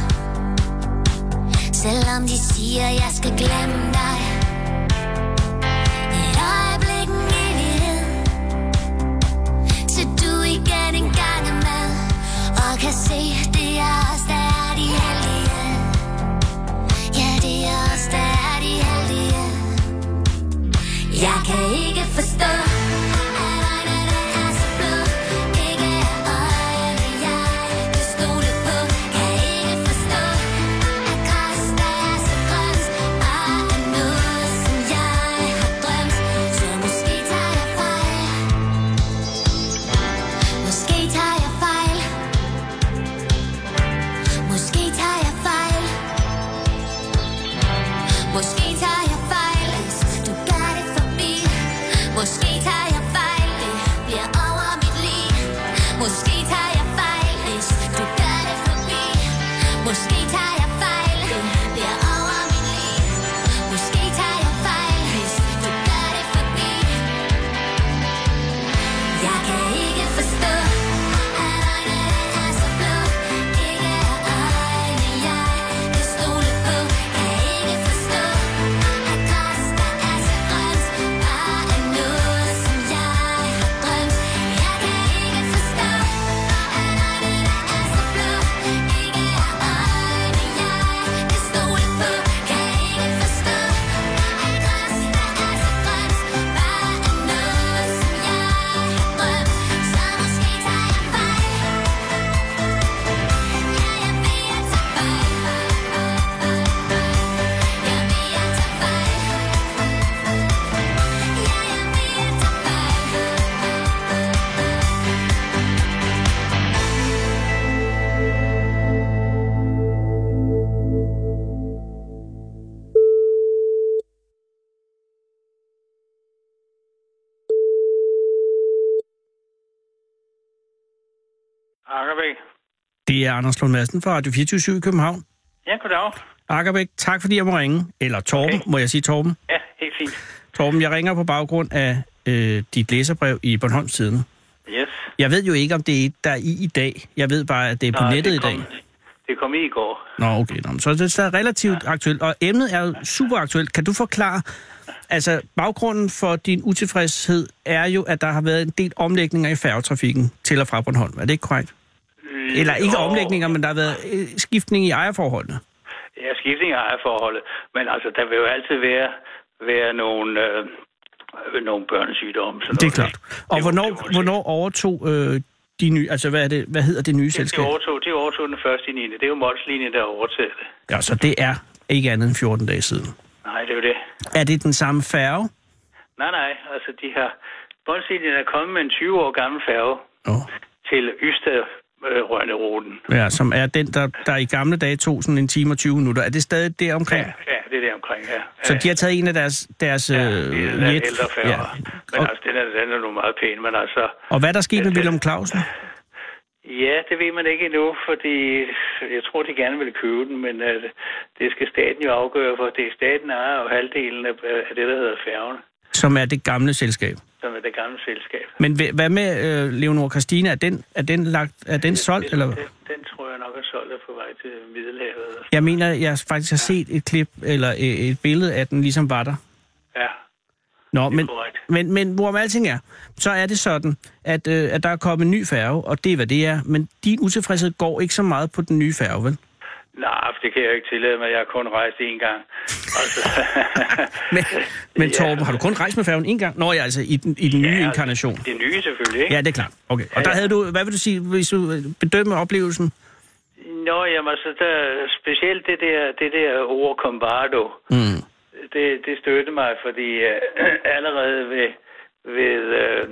Selvom de siger, jeg skal glemme dig Et øjeblik, en evighed Til du igen en gang er med Og kan se, det er os, der er de heldige Ja, det er os, der er de heldige jeg kan ikke forstå at øjnene er så blå. Ikke er øjne, jeg kan stole på. Kan ikke forstå, at græs, der er så grønt, bare er noget, Akkerbæk. Det er Anders Lund Madsen fra Radio 24 i København. Ja, goddag. Akkerbæk, tak fordi jeg må ringe. Eller Torben, okay. må jeg sige Torben? Ja, helt fint. Torben, jeg ringer på baggrund af øh, dit læserbrev i Bornholms Tiden. Yes. Jeg ved jo ikke, om det er et, der er i i dag. Jeg ved bare, at det er på Nå, nettet Ah, det kom, i dag. Det kom i i går. Nå, okay. Nå, men så er det stadig relativt ja. aktuelt, og emnet er jo super aktuelt. Kan du forklare, altså baggrunden for din utilfredshed er jo, at der har været en del omlægninger i færgetrafikken til og fra Bornholm. Er det ikke korrekt? Eller ikke Jo. omlægninger, men der har været øh, skiftning i ejerforholdene. Ja, skiftning af ejerforholdet. Men altså, der vil jo altid være, være nogle, øh, øh, nogle børnesygdomme. Sådan Det er noget. klart. Og Det må- det må hvornår, man hvornår overtog øh, de nye, altså hvad, er det, hvad hedder det nye sige. Det, selskab? det, overtog, det overtog den første i 9. Det er jo Molslinjen, der overtager det. Ja, så det er ikke andet end 14 dage siden. Nej, det er jo det. Er det den samme færge? Nej, nej. Altså, de har... Molslinjen er kommet med en 20 år gammel færge Oh. til Ystad øh, ruten Ja, som er den, der, der i gamle dage tog sådan en time og 20 minutter. Er det stadig der omkring? Ja, ja, det er der omkring, ja. Så ja. de har taget en af deres... deres Ja, ja, det er den der ældre færge. Ja. Men Og, altså, den er, den er nu meget pæn, men altså... og hvad er der sket med det- Willem Clausen? Ja, det ved man ikke endnu, fordi jeg tror, de gerne vil købe den, men øh, det skal staten jo afgøre, for det er staten der ejer jo halvdelen af, af det, der hedder færgen, Som er det gamle selskab. som er det gamle selskab. Men hva- hvad med øh, Leonor Christina? Er den, er den, lagt, er den solgt? Eller? Den, den tror jeg nok er solgt og på vej til Middelhavet. Jeg mener, jeg faktisk har set et klip eller øh, et billede af den, ligesom var der. Ja, Nå, men, korrekt. men, men hvorom alting er, så er det sådan, at, øh, at der er kommet en ny færge, og det er, hvad det er. Men din utilfredshed går ikke så meget på den nye færge, vel? nej, for det kan jeg jo ikke tillade mig. Jeg har kun rejst én gang. Altså, Men, men Ja. Torben, har du kun rejst med færgen en gang? Nå ja, altså i den, i den nye Ja, inkarnation. Det nye selvfølgelig, ikke? Ja, det er klart. Okay. Og Ja, der ja. havde du, hvad vil du sige, hvis du øh, bedømmer oplevelsen? Nå, jamen altså, der, specielt det der, det der ord Combardo, Mm. det, det stødte mig, fordi øh, allerede ved, ved øh,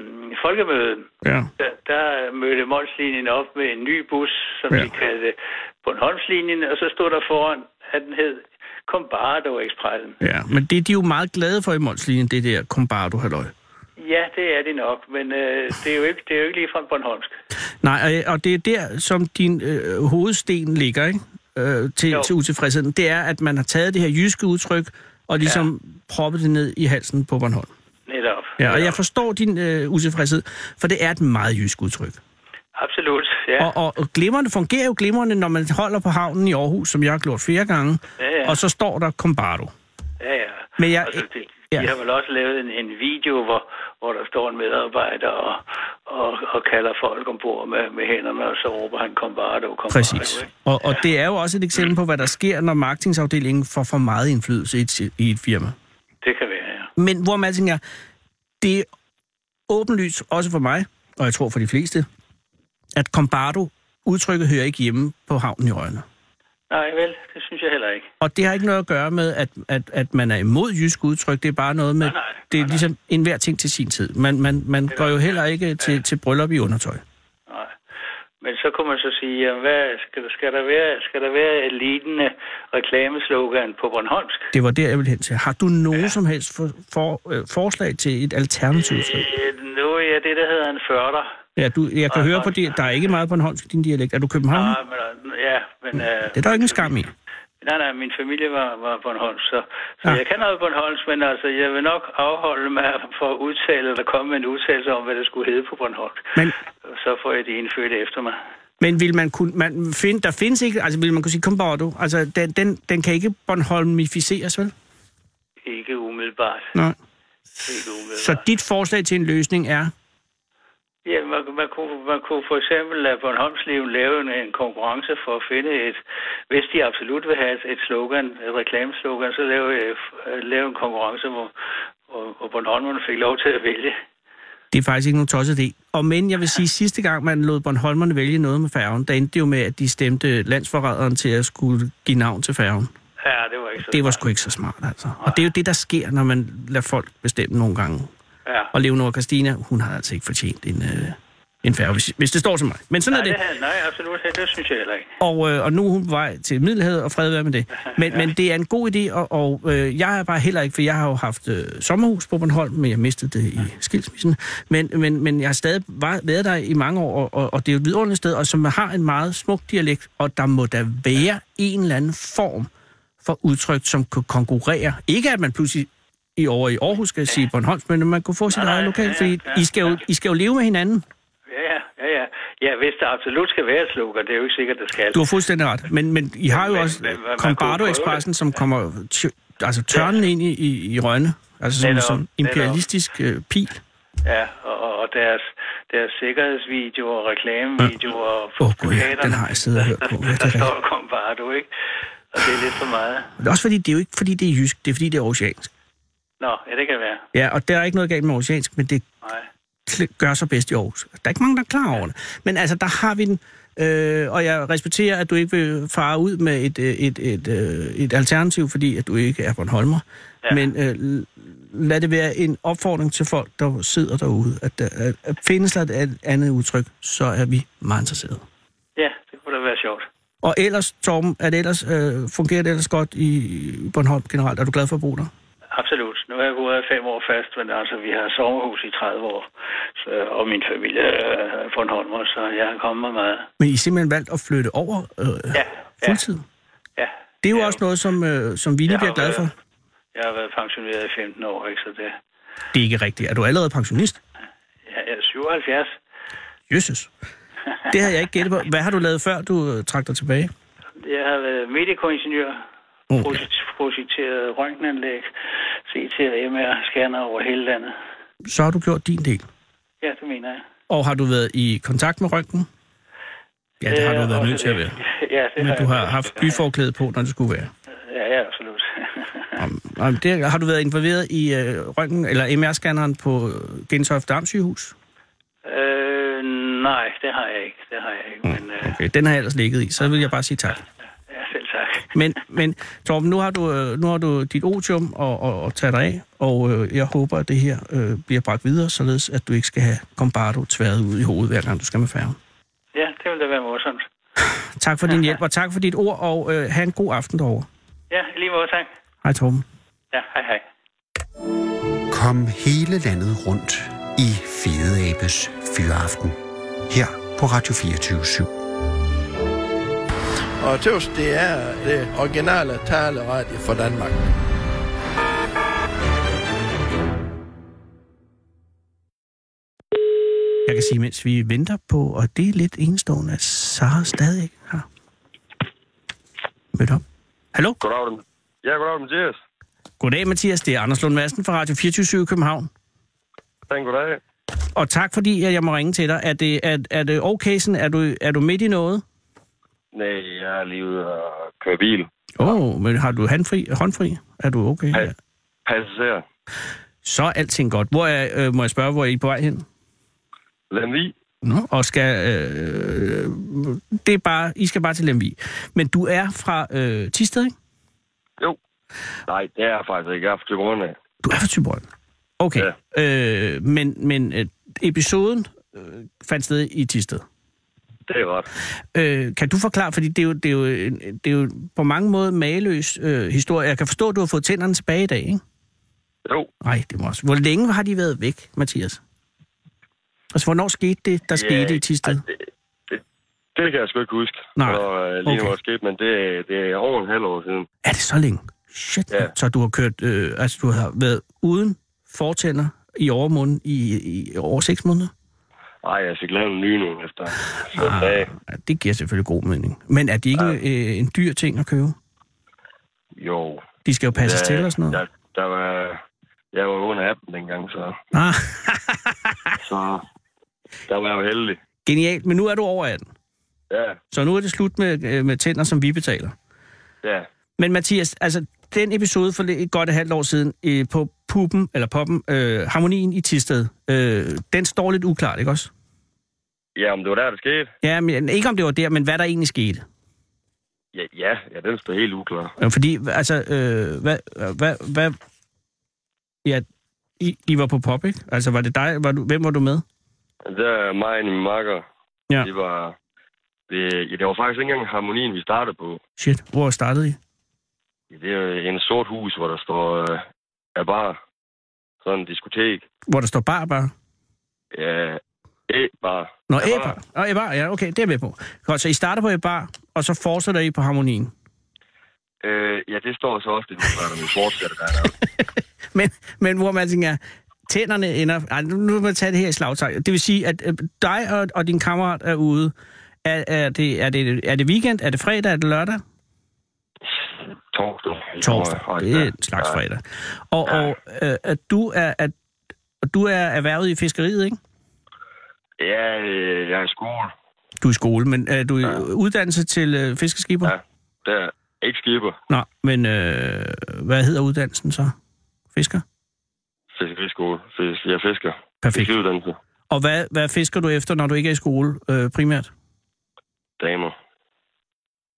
folkemødet, Ja. der, der mødte Molslinjen op med en ny bus, som Ja. ja. de kaldte Bornholmslinjen, og så stod der foran, at den hed Combardo Expressen. Ja, men det er de jo meget glade for i Molslinjen, det der kombardo halløj. Ja, det er det nok, men øh, det, er jo ikke, det er jo ikke ligefrem Bornholmsk. Nej, og, og det er der, som din øh, hovedsten ligger, ikke? Øh, til, Jo. til utilfredsheden. Det er, at man har taget det her jyske udtryk og ligesom ja. proppet det ned i halsen på Bornholm. Netop. Ja, og Netop. jeg forstår din øh, utilfredshed, for det er et meget jysk udtryk. Absolut, ja. Og, og, og glimrende fungerer jo glimrende, når man holder på havnen i Aarhus, som jeg har gjort flere gange, Ja, ja. og så står der Combardo. Ja, ja. Men jeg- altså, de, ja. de har vel også lavet en, en video, hvor, hvor der står en medarbejder og, og, og kalder folk ombord med, med hænderne, og så råber han, kom bare, du, kom Præcis. Bare, Og, og det er jo også et eksempel på, hvad der sker, når marketingsafdelingen får for meget indflydelse i et, si- i et firma. det kan være, ja. Men hvor man tænker, det er åbenlyst også for mig, og jeg tror for de fleste, at Combardo udtrykket hører ikke hjemme på havnen i Rønne. Nej, vel, det synes jeg heller ikke. Og det har ikke noget at gøre med, at, at, at man er imod jysk udtryk. Det er bare noget med, nej, det er ligesom enhver ting til sin tid. Man, man, man går jo heller ikke til, til bryllup i undertøj. Nej. Men så kunne man så sige, jamen, hvad skal, der, skal, der være, skal der være et lignende reklameslogan på Bornholmsk? Det var der, jeg ville hen til. Har du nogen ja. som helst for, for, øh, forslag til et alternativt udtryk? Øh, Nu er jeg det, der hedder en 40'er. Ja, du, jeg kan Nej, høre nej. på det. Der er ikke meget på en hånd din dialekt. Er du københavner? Nej, men, øh, ja, men... Øh, Det er der jo ikke en skam i. Nej, nej, min familie var, var Bornholms, så, så Ja. ja. jeg kan noget Bornholms, men altså, jeg vil nok afholde mig for at udtale, eller komme med en udtalelse om, hvad det skulle hedde på Bornholm. Men- Så får jeg det indfødt efter mig. Men vil man kunne... Man find, der findes ikke... Altså, vil man kunne sige, kom bare du. Altså, den, den, den kan ikke Bornholmificeres, vel? Ikke umiddelbart. Nej. Ikke umiddelbart. Så dit forslag til en løsning er... Ja, man, man, kunne, man kunne for eksempel lade Bornholmsliv lave en, en konkurrence for at finde et... Hvis de absolut vil have et, et slogan, et reklameslogan, så lave, øh, f- øh, lave en konkurrence, hvor, hvor, hvor Bornholmerne fik lov til at vælge. Det er faktisk ikke nogen tosset idé. Og men jeg vil sige, sidste gang man lod Bornholmerne vælge noget med færgen, der endte det jo med, at de stemte landsforræderen til at skulle give navn til færgen. Ja, det var ikke så Det var smart. sgu ikke så smart, altså. Og det er jo det, der sker, når man lader folk bestemme nogle gange. Ja. Og Leonora Christina, hun har altså ikke fortjent en, øh, en færge, hvis, hvis det står til mig. Men sådan Nej, er det det. havde, nej, absolut. Det synes jeg heller ikke. Og, øh, og nu er hun på vej til Middelhavet, og fred være med det. Men, men det er en god idé, og, og øh, jeg er bare heller ikke, for jeg har jo haft øh, sommerhus på Bornholm, men jeg mistede det i skilsmissen. Men, men, men jeg har stadig var, været der i mange år, og, og, og det er jo et vidunderligt sted, og som har en meget smuk dialekt, og der må da være en eller anden form for udtryk, som kan konkurrere. Ikke at man pludselig i over i Aarhus skal sige Bornholms, men at man kunne få sit Nej, eget nej, lokal, ja, fordi ja, I skal jo, ja. I skal jo leve med hinanden. Ja, ja, ja, ja. Ja, hvis der absolut skal være et slogan, det er jo ikke sikkert, det skal. Du har fuldstændig ret, men, men I har jo Men- også men- men man kunne Combardo prøve Expressen, det. som kommer tj- altså tørnen ind i, i, i Rønne, altså som, Netop, som netop. imperialistisk øh, pil. Ja, og, og- og deres, deres sikkerhedsvideoer, reklamevideoer og Åh, gud, ja, den har jeg siddet og hørt på. Ja, det er der rigtigt. står kom bare du, ikke? Og det er lidt for meget. Men det er også fordi, det er jo ikke fordi, det er jysk, det er fordi, det er oceansk. Nå, ja, det kan være. Ja, og der er ikke noget galt med oceansk, men det Nej. kl- gør sig bedst i Aarhus. Der er ikke mange, der er klar over det. Men altså, der har vi den. Øh, og jeg respekterer, at du ikke vil fare ud med et, øh, et, et, øh, et alternativ, fordi at du ikke er Bornholmer. Ja. Ja. Men øh, l- lad det være en opfordring til folk, der sidder derude, at, at, at findes der et andet udtryk, så er vi meget interesserede. Ja, det kunne da være sjovt. Og ellers, Torben, er det ellers, øh, fungerer det ellers godt i Bornholm generelt? Er du glad for at bo der? Absolut. Nu har jeg gået af fem år fast, men altså, vi har sommerhus i 30 år, så, og min familie øh, er Bornholmer, så jeg har kommet mig meget. Men I har simpelthen valgt at flytte over øh, Ja, ja, fuldtid. ja. Det er jo Ja, også noget, som, øh, som Vinnie Jeg har bliver glad for. været- Jeg har været pensioneret i 15 år, ikke? Så det, Det er ikke rigtigt. Er du allerede pensionist? jeg er 77. Jesus. Det havde jeg ikke gættet på. Hvad har du lavet før, du øh, trak dig tilbage? Jeg har været medicoingeniør, Mm. projek- projekteret røntgenanlæg, CT og MR, scanner over hele landet. Så har du gjort din del. Ja, det mener jeg. Og har du været i kontakt med røntgen? Ja, det har du Øh, været også nødt til at det. være. Ja, det Men har du jeg. har haft byforklæde på, når det skulle være. Ja, ja, absolut. Om, om det, har du været involveret i øh, røntgen eller MR-scanneren på øh, Gentofte Dam sygehus? øh, nej, det har jeg ikke. Det har jeg ikke, men øh, Mm, Okay, den har jeg ellers ligget i, så vil jeg bare sige tak. ja, selv tak. Men, men Torben, nu har du, øh, nu har du dit otium og, og, og tage dig af, og øh, jeg håber, at det her øh, bliver bragt videre, således at du ikke skal have Combardo tværet ud i hovedet, hver gang du skal med færgen. Ja, det ville da være morsomt. Tak for din hjælp, og tak for dit ord, og øh, have en god aften derovre. Ja, i lige måde, tak. Hej Torben. Ja, hej hej. Kom hele landet rundt i Fede Abes Fyraften. Her på Radio 24 /7. Og tøvs, det er det originale taleradio for Danmark. Jeg kan sige, mens vi venter på, og det er lidt enestående, at Sara stadig ikke har mødt op. Hallo? Goddag, dem. Ja, goddag, Mathias. Goddag, Mathias. Det er Anders Lund Madsen fra Radio 24 København. Tak, goddag. Og tak fordi, at jeg må ringe til dig. Er det, er, er det okay, sådan? Er du, er du midt i noget? Nej, jeg er lige ude og køre bil. Åh, oh, men har du handfri, håndfri? Er du okay? Ja. Passager. Så er alting godt. Hvor er, øh, må jeg spørge, hvor er I på vej hen? Lemvi. Nå, og skal... Øh, det er bare, I skal bare til Lemvig. Men du er fra øh, Tisted, ikke? Jo. Nej, det er jeg faktisk ikke. Jeg er fra Thyborøn af. Du er fra Thyborg. Okay. Ja. Øh, men men øh, episoden øh, fandt sted i Tisted. Det er ret. Øh, kan du forklare, fordi det er jo, det er jo, en- det er jo på mange måder mageløs øh, historie. Jeg kan forstå, at du har fået tænderne tilbage i dag, ikke? Jo. Nej, det må også. Hvor længe har de været væk, Mathias? Altså, hvornår skete det, der Ja, skete i Tisted? ej, det, det, det kan jeg sgu ikke huske. Nej, Og, øh, lige nu okay. er sket, men det, det er over en halv år siden. Er det så længe? Shit. Ja. Så du har kørt, øh, altså du har været uden fortænder i overmunden i, i over seks måneder? Nej, jeg fik lavet en ny nu efter. Så, ah. ja, det giver selvfølgelig god mening. Men er det ikke øh, en dyr ting at købe? Jo. De skal jo passes Der- til og sådan noget. Der, der var, jeg var under 18 dengang, så, Ah, så der var jeg jo heldig. genialt, men nu er du over 18. Ja, Så nu er det slut med, øh, med tænder, som vi betaler. ja. Men Mathias, altså den episode for lidt- godt et halvt år siden øh, på puppen, eller poppen, øh, Harmonien i Tisted, øh, den står lidt uklart, ikke også? Ja, om det var der, det skete? Ja, men ikke om det var der, men hvad der egentlig skete. Ja, ja, ja den står helt uklar. Øh, Fordi, altså, øh, hvad, hvad, hvad, ja, I, I var på pop, ikke? Altså, var det dig, var du, hvem var du med? Der mig og min makker, Ja. det var... Det, ja, det var faktisk ikke engang harmonien, vi startede på. Shit, hvor startede I? Det er en sort hus, hvor der står øh, er bar. Sådan en diskotek. Hvor der står bar, bare. Ja, æ-bar. Nå, Ja, æbar. Nå, æbar, ja, okay, det er jeg med på. Godt, så I starter på æbar, og så fortsætter I på harmonien. Øh, ja, det står så også lidt udrettet, men vi fortsætter der. Men, men hvor man tænker, tænderne ender... Ej, nu nu må man tage det her i slagtøj. Det vil sige, at øh, dig og, og din kammerat er ude. Er, er, det, er, det, er det weekend? Er det fredag? Er det lørdag? Torsdag. Torsdag. Og- og- Det er en slags ja. fredag. Og, og øh, at du er... At, og du er erhvervet i fiskeriet, ikke? Ja, øh, jeg er i skole. Du er i skole, men øh, du er ja. uddannelse til øh, fiskeskipper? Ja. Der er ikke skipper. Nå, men øh, hvad hedder uddannelsen så? Fisker? Fiskeriskole. Fis, jeg fisker. Perfekt. Fiskeuddannelse. Og hvad, hvad fisker du efter, når du ikke er i skole øh, primært? Damer.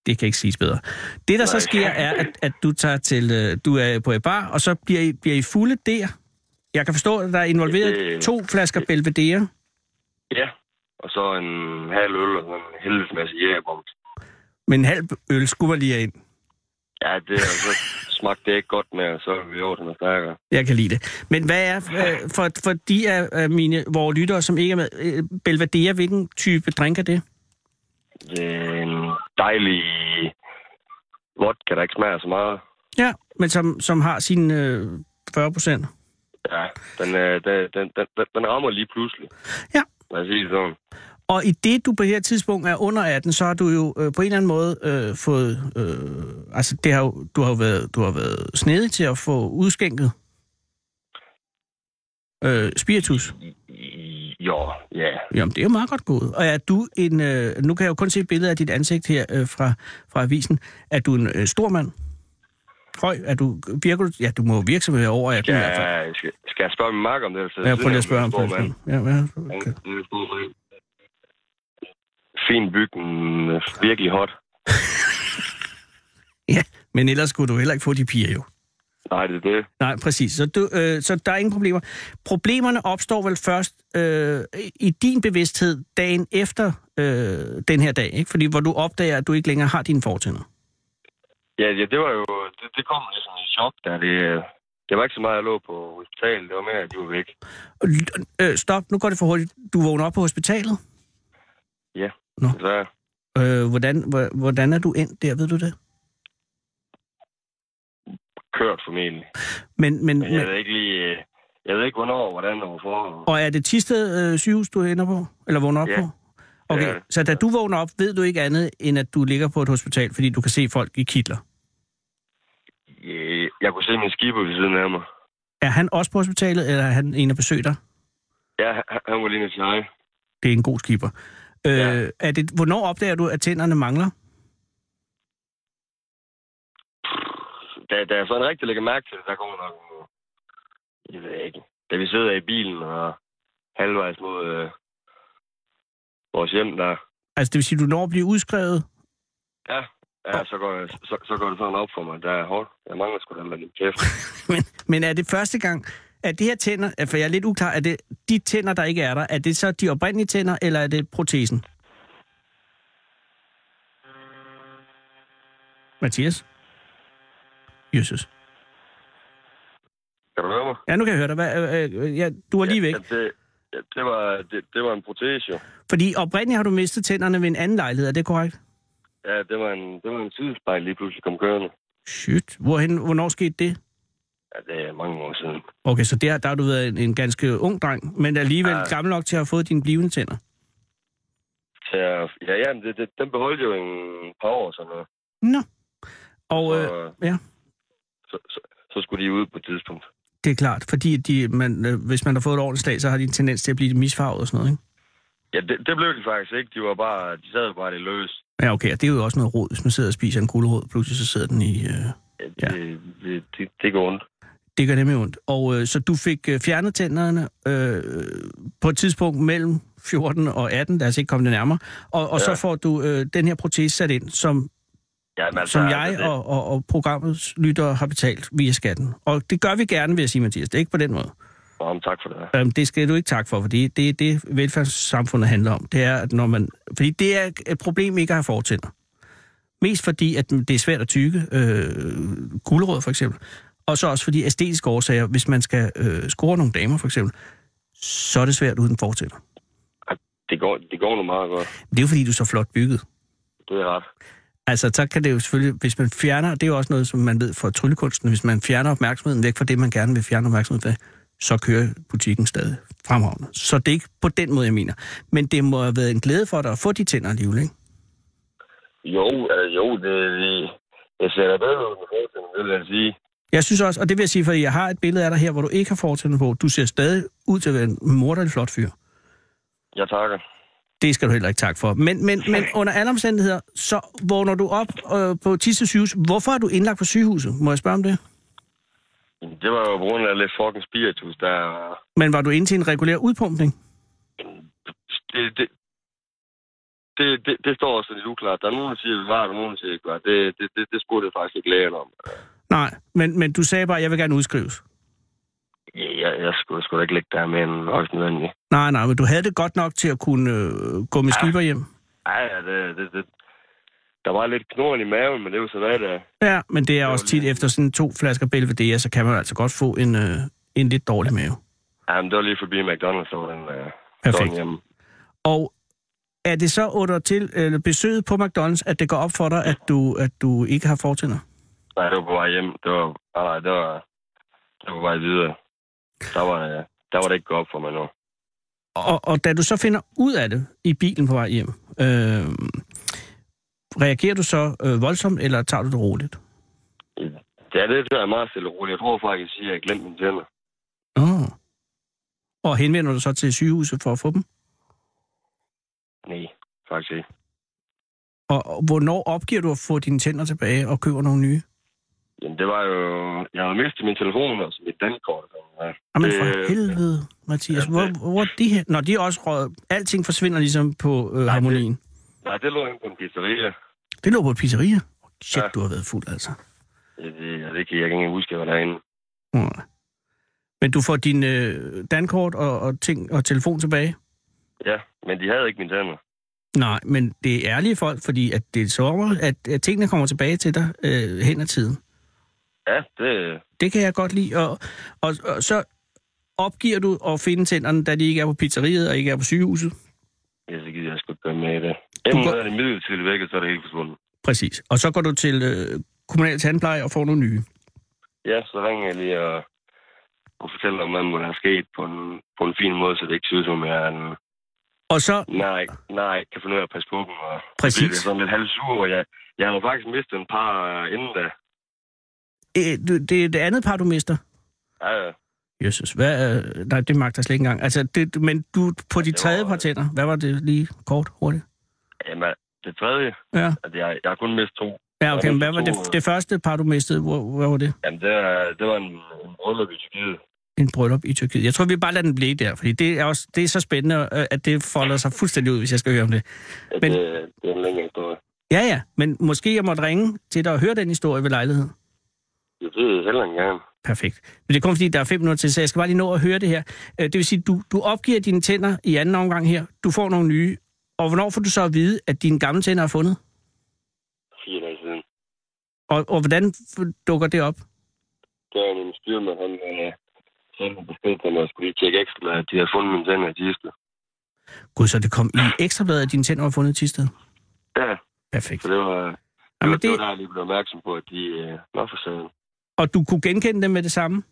Det kan ikke siges bedre. Det, der Nej. så Nej. sker, er, at, at du tager til, øh, du er på et bar, og så bliver I, bliver I fulde der. Jeg kan forstå, at der er involveret Øh, to flasker Belvedere. Ja. Og så en halv øl og sådan en helvedes masse jægerbom. Men en halv øl skulle man lige have ind. Ja, det og så smagte det ikke godt med, og så er vi over til noget stærkere. Jeg kan lide det. Men hvad er, øh, for, for de af øh, mine, vores lyttere, som ikke er med, øh, Belvedere, hvilken type drink er det? Det er en Øh, dejlig vodka, der ikke smager så meget. Ja, men som, som har sine øh, 40 procent. Ja, den, øh, den, den, den, den- den rammer lige pludselig. Ja. Lad os sige det sådan. Og i det, du på her tidspunkt er under 18, så har du jo øh, på en eller anden måde øh, fået... Øh, altså, det har jo, du har jo været, du har været snedig til at få udskænket øh, spiritus. I- Jo, ja. Jamen, det er jo meget godt gået. Og er du en... Øh, nu kan jeg jo kun se billeder af dit ansigt her øh, fra, fra avisen. Er du en øh, stor mand? Høj? Er du, virker du... Ja, du må jo virke som at være over 18 i hvert fald. Skal, skal, skal jeg spørge min mark om det? Eller Ja, prøv lige at spørge ham. på et mand. tidspunkt. Ja, ja, okay. Han er en stor mand. Fin bygning, øh, virkelig hot. ja, men ellers skulle du heller ikke få de piger jo. Nej, det er det. Nej, præcis. Så, du, øh, så der er ingen problemer. Problemerne opstår vel først øh, i din bevidsthed dagen efter øh, den her dag, ikke? Fordi hvor du opdager, at du ikke længere har dine fortænder. Ja, ja det var jo... Det, det kom ligesom i chok, da det... øh, Det var ikke så meget, jeg lå på hospitalet. Det var mere, at de var væk. Og l- Øh, stop, nu går det for hurtigt. Du vågner op på hospitalet. Ja. Nå. Så, Øh, hvordan, hv- hvordan er du endt der, ved du det? kørt formentlig. Men, men, Men jeg men, ved ikke lige... øh, Jeg ved ikke, hvornår og hvordan og hvorfor. og er det Tisted øh, sygehus, du ender på? Eller vågner op Ja. på? Okay, Ja. så da du vågner op, ved du ikke andet, end at du ligger på et hospital, fordi du kan se folk i kitler. Øh, Jeg kunne se min skibber ved siden af mig. Er han også på hospitalet, eller er han en, der besøger dig? Ja, han- han var lige nødt til hej. det er en god skipper. Øh, Ja. er det, hvornår opdager du, at tænderne mangler? Da, da jeg sådan rigtig lægger mærke til det, der kommer nok... en- Jeg ved ikke. Da vi sidder i bilen og halvvejs mod øh, vores hjem, der... Altså, det vil sige, at du når at blive udskrevet? Ja, ja så, går det, så, så går det sådan op for mig. Der er hårdt. Jeg mangler sgu da lidt kæft. Men, men er det første gang, at det her tænder, for jeg er lidt uklar, er det de tænder, der ikke er der, er det så de oprindelige tænder, eller er det protesen? Mathias? Jesus. Kan du høre mig? Ja, nu kan jeg høre dig. Hvad, øh, øh, ja, du er lige væk. Ja, det, ja, det, var, det, det var en protese, jo. Fordi oprindeligt har du mistet tænderne ved en anden lejlighed, er det korrekt? Ja, det var en, det var en sidespejl lige pludselig kom kørende. Shit. Hvorhen, hvornår skete det? Ja, det er øh, mange år siden. Okay, så der, der har du været en, en ganske ung dreng, men alligevel ja. Ja. gammel nok til at have fået dine blivende tænder. Så, jeg- ja, ja, men det, det, den beholdt jo en par år, sådan noget. Nå. Og øh, Så, ja. så, så, så skulle de ud på et tidspunkt. det er klart, fordi de, man, øh, hvis man har fået et ordentligt slag, så har de en tendens til at blive misfarvet og sådan noget, ikke? Ja, det, det blev de faktisk ikke. De var bare, de sad bare det løs. Ja, okay, og det er jo også noget råd, hvis man sidder og spiser en gulerod, pludselig så sidder den i... Øh, Ja, det, Ja. det, det, det, går ondt. det gør nemlig ondt. Og øh, så du fik øh, fjernet tænderne øh, på et tidspunkt mellem 14 og 18, lad os ikke komme det nærmere, og, og ja. så Ja. får du øh, den her protese sat ind, som Ja, men altså, som jeg altså, det, og, og, og programmets lyttere har betalt via skatten. Og det gør vi gerne, vil jeg sige, Mathias. Det er ikke på den måde. Om, tak for det. Jamen, det skal du ikke tak for, fordi det er det, velfærdssamfundet handler om. Det er, at når man... Fordi det er et problem ikke at have fortænder. Mest fordi, at det er svært at tykke. Øh, gulerød for eksempel. Og så også fordi æstetiske årsager, hvis man skal øh, score nogle damer for eksempel, så er det svært uden fortænder. Det går, det går nu meget godt. Det er jo fordi, du er så flot bygget. Det er ret. Altså, så kan det jo selvfølgelig, hvis man fjerner, det er jo også noget, som man ved fra tryllekunsten, hvis man fjerner opmærksomheden væk fra det, man gerne vil fjerne opmærksomheden fra, så kører butikken stadig fremragende. Så det er ikke på den måde, jeg mener. Men det må have været en glæde for dig at få de tænder alligevel, ikke? Jo, altså, jo, det, det, jeg ser da bedre ud med fortiden, det vil jeg sige. Jeg synes også, og det vil jeg sige, fordi jeg har et billede af dig her, hvor du ikke har fortænder på. Du ser stadig ud til at være en morderlig flot fyr. Jeg takker. Det skal du heller ikke tak for. Men, men, men under alle omstændigheder, så vågner du op øh, på Tisse sygehus. Hvorfor er du indlagt på sygehuset? Må jeg spørge om det? Det var jo på grund af lidt fucking spiritus, der... Men var du inde til en regulær udpumpning? Det, det, det, det, det står også lidt uklart. Der er nogen, der siger, at vi var, der er nogen, der siger, at vi ikke var. Det, det, det, det spurgte jeg faktisk ikke lægen om. Nej, men, men du sagde bare, at jeg vil gerne udskrives. Jeg, jeg, jeg skulle, skulle da ikke ligge der med en også nødvendig. Nej, nej, men du havde det godt nok til at kunne øh, gå med Ja. skiber hjem. Ej, ja, det, det, det, der var lidt knorren i maven, men det var så hvad det er. Ja, men det er var også tit lidt- efter sådan to flasker Belvedere, så kan man altså godt få en, øh, en lidt dårlig mave. Jamen, det var lige forbi McDonald's, der var den øh, Perfekt. sådan hjemme. Og er det så under til eller besøget på McDonald's, at det går op for dig, at du, at du ikke har fortænder? Nej, det var på vej hjem. Det var, nej, nej, det var, det var på vej videre. Der var, øh, der var det ikke godt for mig nu. Og, og da du så finder ud af det i bilen på vej hjem, øh, reagerer du så øh, voldsomt, eller tager du det roligt? Ja, det der er meget stille og roligt. Jeg tror faktisk, at jeg glemte mine tænder. Oh. Og henvender du så til sygehuset for at få dem? Nej, faktisk ikke. Og, og hvornår opgiver du at få dine tænder tilbage og køber nogle nye? Jamen, det var jo... Jeg havde mistet min telefon og så mit dankort. Ja. Jamen for Øh, helvede, Mathias. ja, Hvor, det- hvor er de her? Nå, de er også røget. Alting forsvinder ligesom på øh, harmonien. Nej, det lå inde på en pizzeria. Det lå på et pizzeria. Shit, Ja. du har været fuld, altså. Det, det, det kan jeg ikke engang huske, hvad der er inde. Nej. Men du får din øh, dankort og, og, ting, og telefon tilbage? Ja, men de havde ikke mine tænder. Nej, men det er ærlige folk, fordi at det er så, at, at tingene kommer tilbage til dig øh, hen ad tiden. Ja, det... Det kan jeg godt lide. Og, og, og så opgiver du at finde tænderne, da de ikke er på pizzeriet og ikke er på sygehuset. Jeg så gider jeg sgu ikke gøre med i det. øh, Enten går- er det midlertidigt væk, eller så er det helt forsvundet. Præcis. Og så går du til øh, kommunal tandpleje og får nogle nye. Ja, så ringer jeg lige og, og fortæller om, hvad der er sket på en, på en fin måde, så det ikke ser ud som, jeg er en, Og så, nej, nej, kan finde ud af at passe på dem. Og Præcis. Så bliver jeg sådan lidt halvsur, og jeg, jeg har jo faktisk mistet en par øh, inden da. øh, du- det er det andet par, du mister. Ja, ja. Jesus, hvad, øh, nej, det magter jeg slet ikke engang. Altså, det, men du, på de det tredje var- par tænder, hvad var det lige kort, hurtigt? Jamen, det tredje, Ja, at jeg, jeg har kun mistet to. ja okay, det men var hvad var det, to, øh. det første par, du mistede? Hvor, hvor var det? Jamen, det, er- det var en, en bryllup i Tyrkiet. En bryllup i Tyrkiet. Jeg tror, vi bare lader den blive der, fordi det er, også, det er så spændende, øh, at det folder sig fuldstændig ud, hvis jeg skal høre om det. Ja, Men- Det, øh, det er en længere historie. Ja, ja, men måske jeg måtte ringe til dig og høre den historie ved lejlighed. Det ved jeg heller ikke engang. Perfekt. Men det er kun fordi, der er fem minutter til, så jeg skal bare lige nå at høre det her. Øh, Det vil sige, du, du opgiver dine tænder i anden omgang her, du får nogle nye, og hvornår får du så at vide, at dine gamle tænder er fundet? Fire dage siden. Og, og hvordan f- dukker det op? Der var en styrmand, han øh, sendte en besked til mig, at jeg skulle lige tjekke ekstra, at de havde fundet mine tænder i Thisted. Gud, så det kom i ekstrabladet, at dine tænder var fundet i Tisted. Ja, Perfekt. så det var, Det var, Jamen, det... det, var der, jeg lige blev opmærksom på, at de... Øh, nå for satan. og du kunne genkende dem med det samme?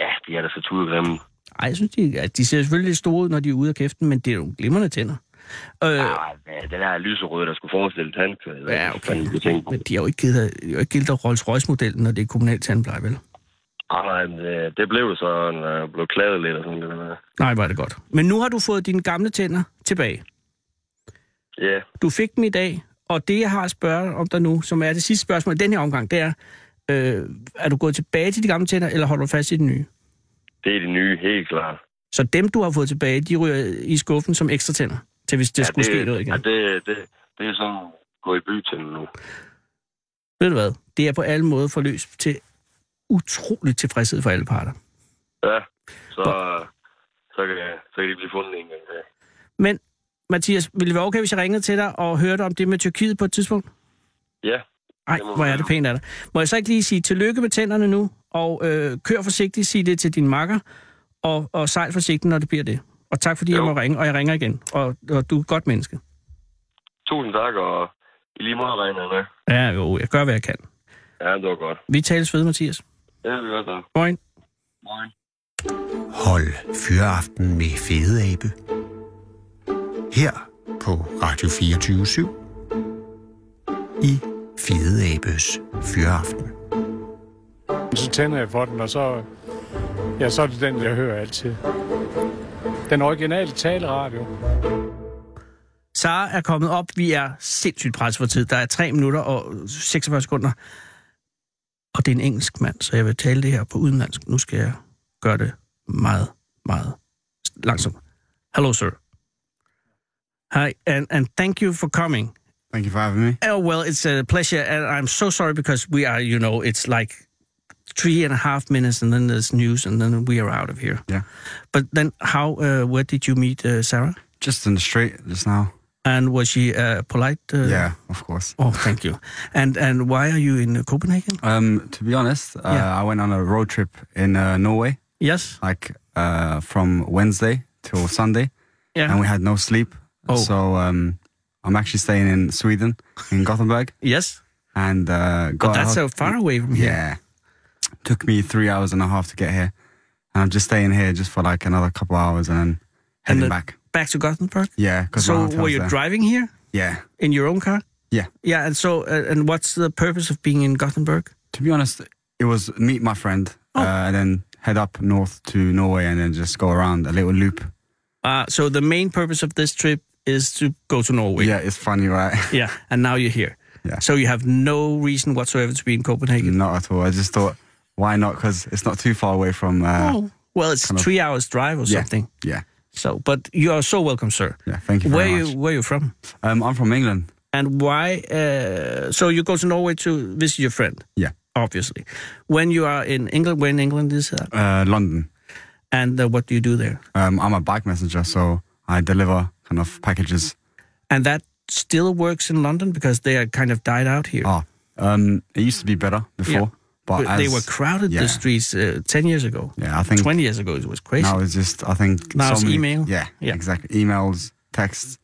Ja, de er da så tudegrimme. Ej, jeg synes, de, at de ser selvfølgelig lidt store ud, når de er ude af kæften, men det er jo glimrende tænder. Øh, Øh. Ja, den her lyserøde, der skulle forestille tandkød. hvad ja, okay. fanden kunne tænke på. Men de har jo ikke givet dig, de har jo ikke givet dig Rolls Royce-modellen, når det er kommunal tandpleje, vel? Ah, nej, men, øh, det blev det så, når jeg blev klaget lidt og sådan lidt. der. Nej, var det godt. Men nu har du fået dine gamle tænder tilbage. Ja, Du fik dem i dag, og det, jeg har at spørge om dig nu, som er det sidste spørgsmål i den her omgang, det er, øh, er du gået tilbage til de gamle tænder, eller holder du fast i de nye? det er det nye, helt klart. Så dem, du har fået tilbage, de ryger i skuffen som ekstra tænder, til hvis det ja, ja, skulle det, ske noget igen. Ja, det, det, det er sådan, gå i by til nu. Ved du hvad? Det er på alle måder forløst til utroligt tilfredshed for alle parter. Ja, så, så, kan, så kan de blive fundet en gang. til. Men, Mathias, ville det være okay, hvis jeg ringede til dig og hørte om det med Tyrkiet på et tidspunkt? Ja, Nej, Det må hvor er være. det pænt af dig. Må jeg så ikke lige sige tillykke med tænderne nu, og øh, kør forsigtigt, sig det til din makker, og, og sejl forsigtigt, når det bliver det. Og tak fordi jo. Jo. jeg må ringe, og jeg ringer igen. Og, og du er et godt menneske. tusind tak, og i lige måde regner jeg med. Ja, jo, jeg gør, hvad jeg kan. Ja, det var godt. Vi tales ved, Mathias. Ja, det var godt. Moin. Morgen. Hold fyreaften med Fede Abe. Her på Radio 24 i Fede Abes Fyreaften. Så tænder jeg for den, og så, ja, så er det den, jeg hører altid. Den originale taleradio. Sara er kommet op. Vi er sindssygt presset for tid. Der er 3 minutter og 46 sekunder. Og det er en engelsk mand, så jeg vil tale det her på udenlandsk. Nu skal jeg gøre det meget, meget langsomt. Hello, sir. Hi, and, and thank you for coming. Thank you for having me. Oh, well, it's a pleasure. And I'm so sorry because we are, you know, it's like three and a half minutes and then there's news and then we are out of here. Yeah. But then how, uh, where did you meet uh, Sarah? Just in the street just now. And was she uh, polite? Uh, yeah, of course. Oh, thank you. And and why are you in uh, Copenhagen? Um, to be honest, uh, Yeah. I went on a road trip in uh, Norway, Yes. like uh, from Wednesday till Sunday, Yeah. and we had no sleep. Oh. So um, I'm actually staying in Sweden, in Gothenburg, yes. and uh, got But a that's hot- so far away from here. Yeah, took me three hours and a half to get here, and I'm just staying here just for like another couple hours and then And heading the- back. Back to Gothenburg. Yeah, 'cause my So hotel's were you there. driving here Yeah, in your own car? yeah. Yeah. And so uh, and what's the purpose of being in Gothenburg? To be honest, it was meet my friend uh, and then head up north to Norway and then just go around a little loop. Uh, so the main purpose of this trip is to go to Norway. Yeah, it's funny, right? Yeah. And now you're here. Yeah. So you have no reason whatsoever to be in Copenhagen. not at all. I just thought, why not? Because it's not too far away from. Uh, oh. Well, it's kind of- three hours drive or Yeah. something. Yeah, So, but you are so welcome, sir. yeah. Thank you Where very you much. where you from? Um, I'm from England. And why? Uh, so you go to Norway to visit your friend. Yeah, obviously. When you are in England, when England is that? uh, London. And uh, what do you do there? Um, I'm a bike messenger, so I deliver kind of packages. And that still works in London because they are kind of died out here. Ah, um, it used to be better before, but But they as- were crowded yeah, the streets uh, 10 years ago. Yeah, I think 20 years ago it was crazy. Now it's just, I think. Now so it's many- email. Yeah, Yeah. exactly. Emails, texts.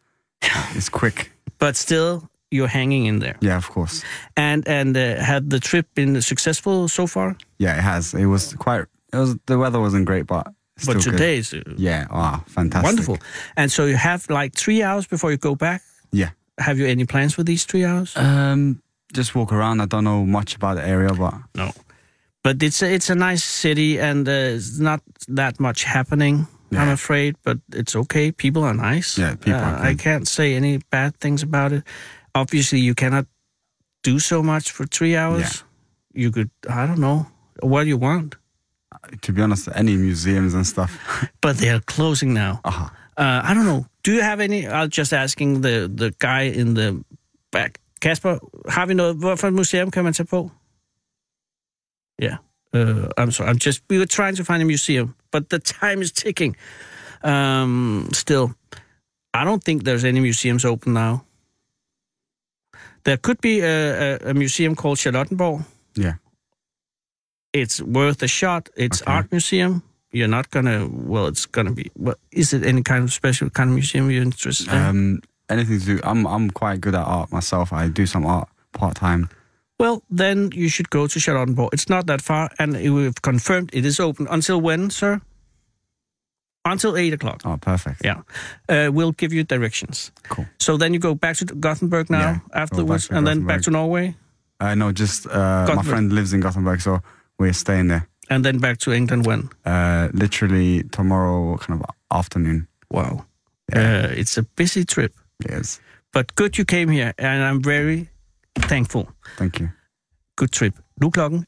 It's quick. but still you're hanging in there. Yeah, of course. And and uh, had the trip been successful so far? Yeah, it has. It was quite. It was the weather wasn't great, but still but good. today is uh, yeah, ah, fantastic, wonderful. And so you have like 3 hours before you go back. Yeah, Have you any plans for these 3 hours? um, just walk around. I don't know much about the area, but No. But it's a, it's a nice city and uh, it's not that much happening, I'm Yeah. afraid, but it's okay. People are nice. Uh, Yeah, people are I good. can't say any bad things about it. Obviously, you cannot do so much for three hours. You could, I don't know, what you want. to be honest, any museums and stuff. But they are closing now. Uh-huh. Uh, I don't know. Do you have any? I was just asking the, the guy in the back. Kasper, har vi noget? Hvorfor museum kan man tage på? Yeah. Uh, I'm sorry. I'm just. We were trying to find a museum, but the time is ticking. Um, still, I don't think there's any museums open now. There could be a, a, a museum called Charlottenborg. Yeah. It's worth a shot. It's Okay. art museum. You're not gonna. Well, it's gonna be. Well, is it any kind of special kind of museum you're interested in? Um, anything to do. I'm I'm quite good at art myself. I do some art part time. Well, then you should go to Charlottenborg. It's not that far, and we've confirmed it is open. Until when, sir? Until 8 o'clock. Oh, perfect. Yeah. Uh, we'll give you directions. Cool. So then you go back to Gothenburg now Yeah, go back afterwards, to and then back Gothenburg. to Norway, Uh, no, just uh, my Gothenburg. friend lives in Gothenburg, so we're staying there. and then back to England when? Uh, literally tomorrow, kind of afternoon. Wow. Yeah. Uh, it's a busy trip, Yes. but good you came here, and I'm very thankful. Thank you. Good trip. Nu er klokken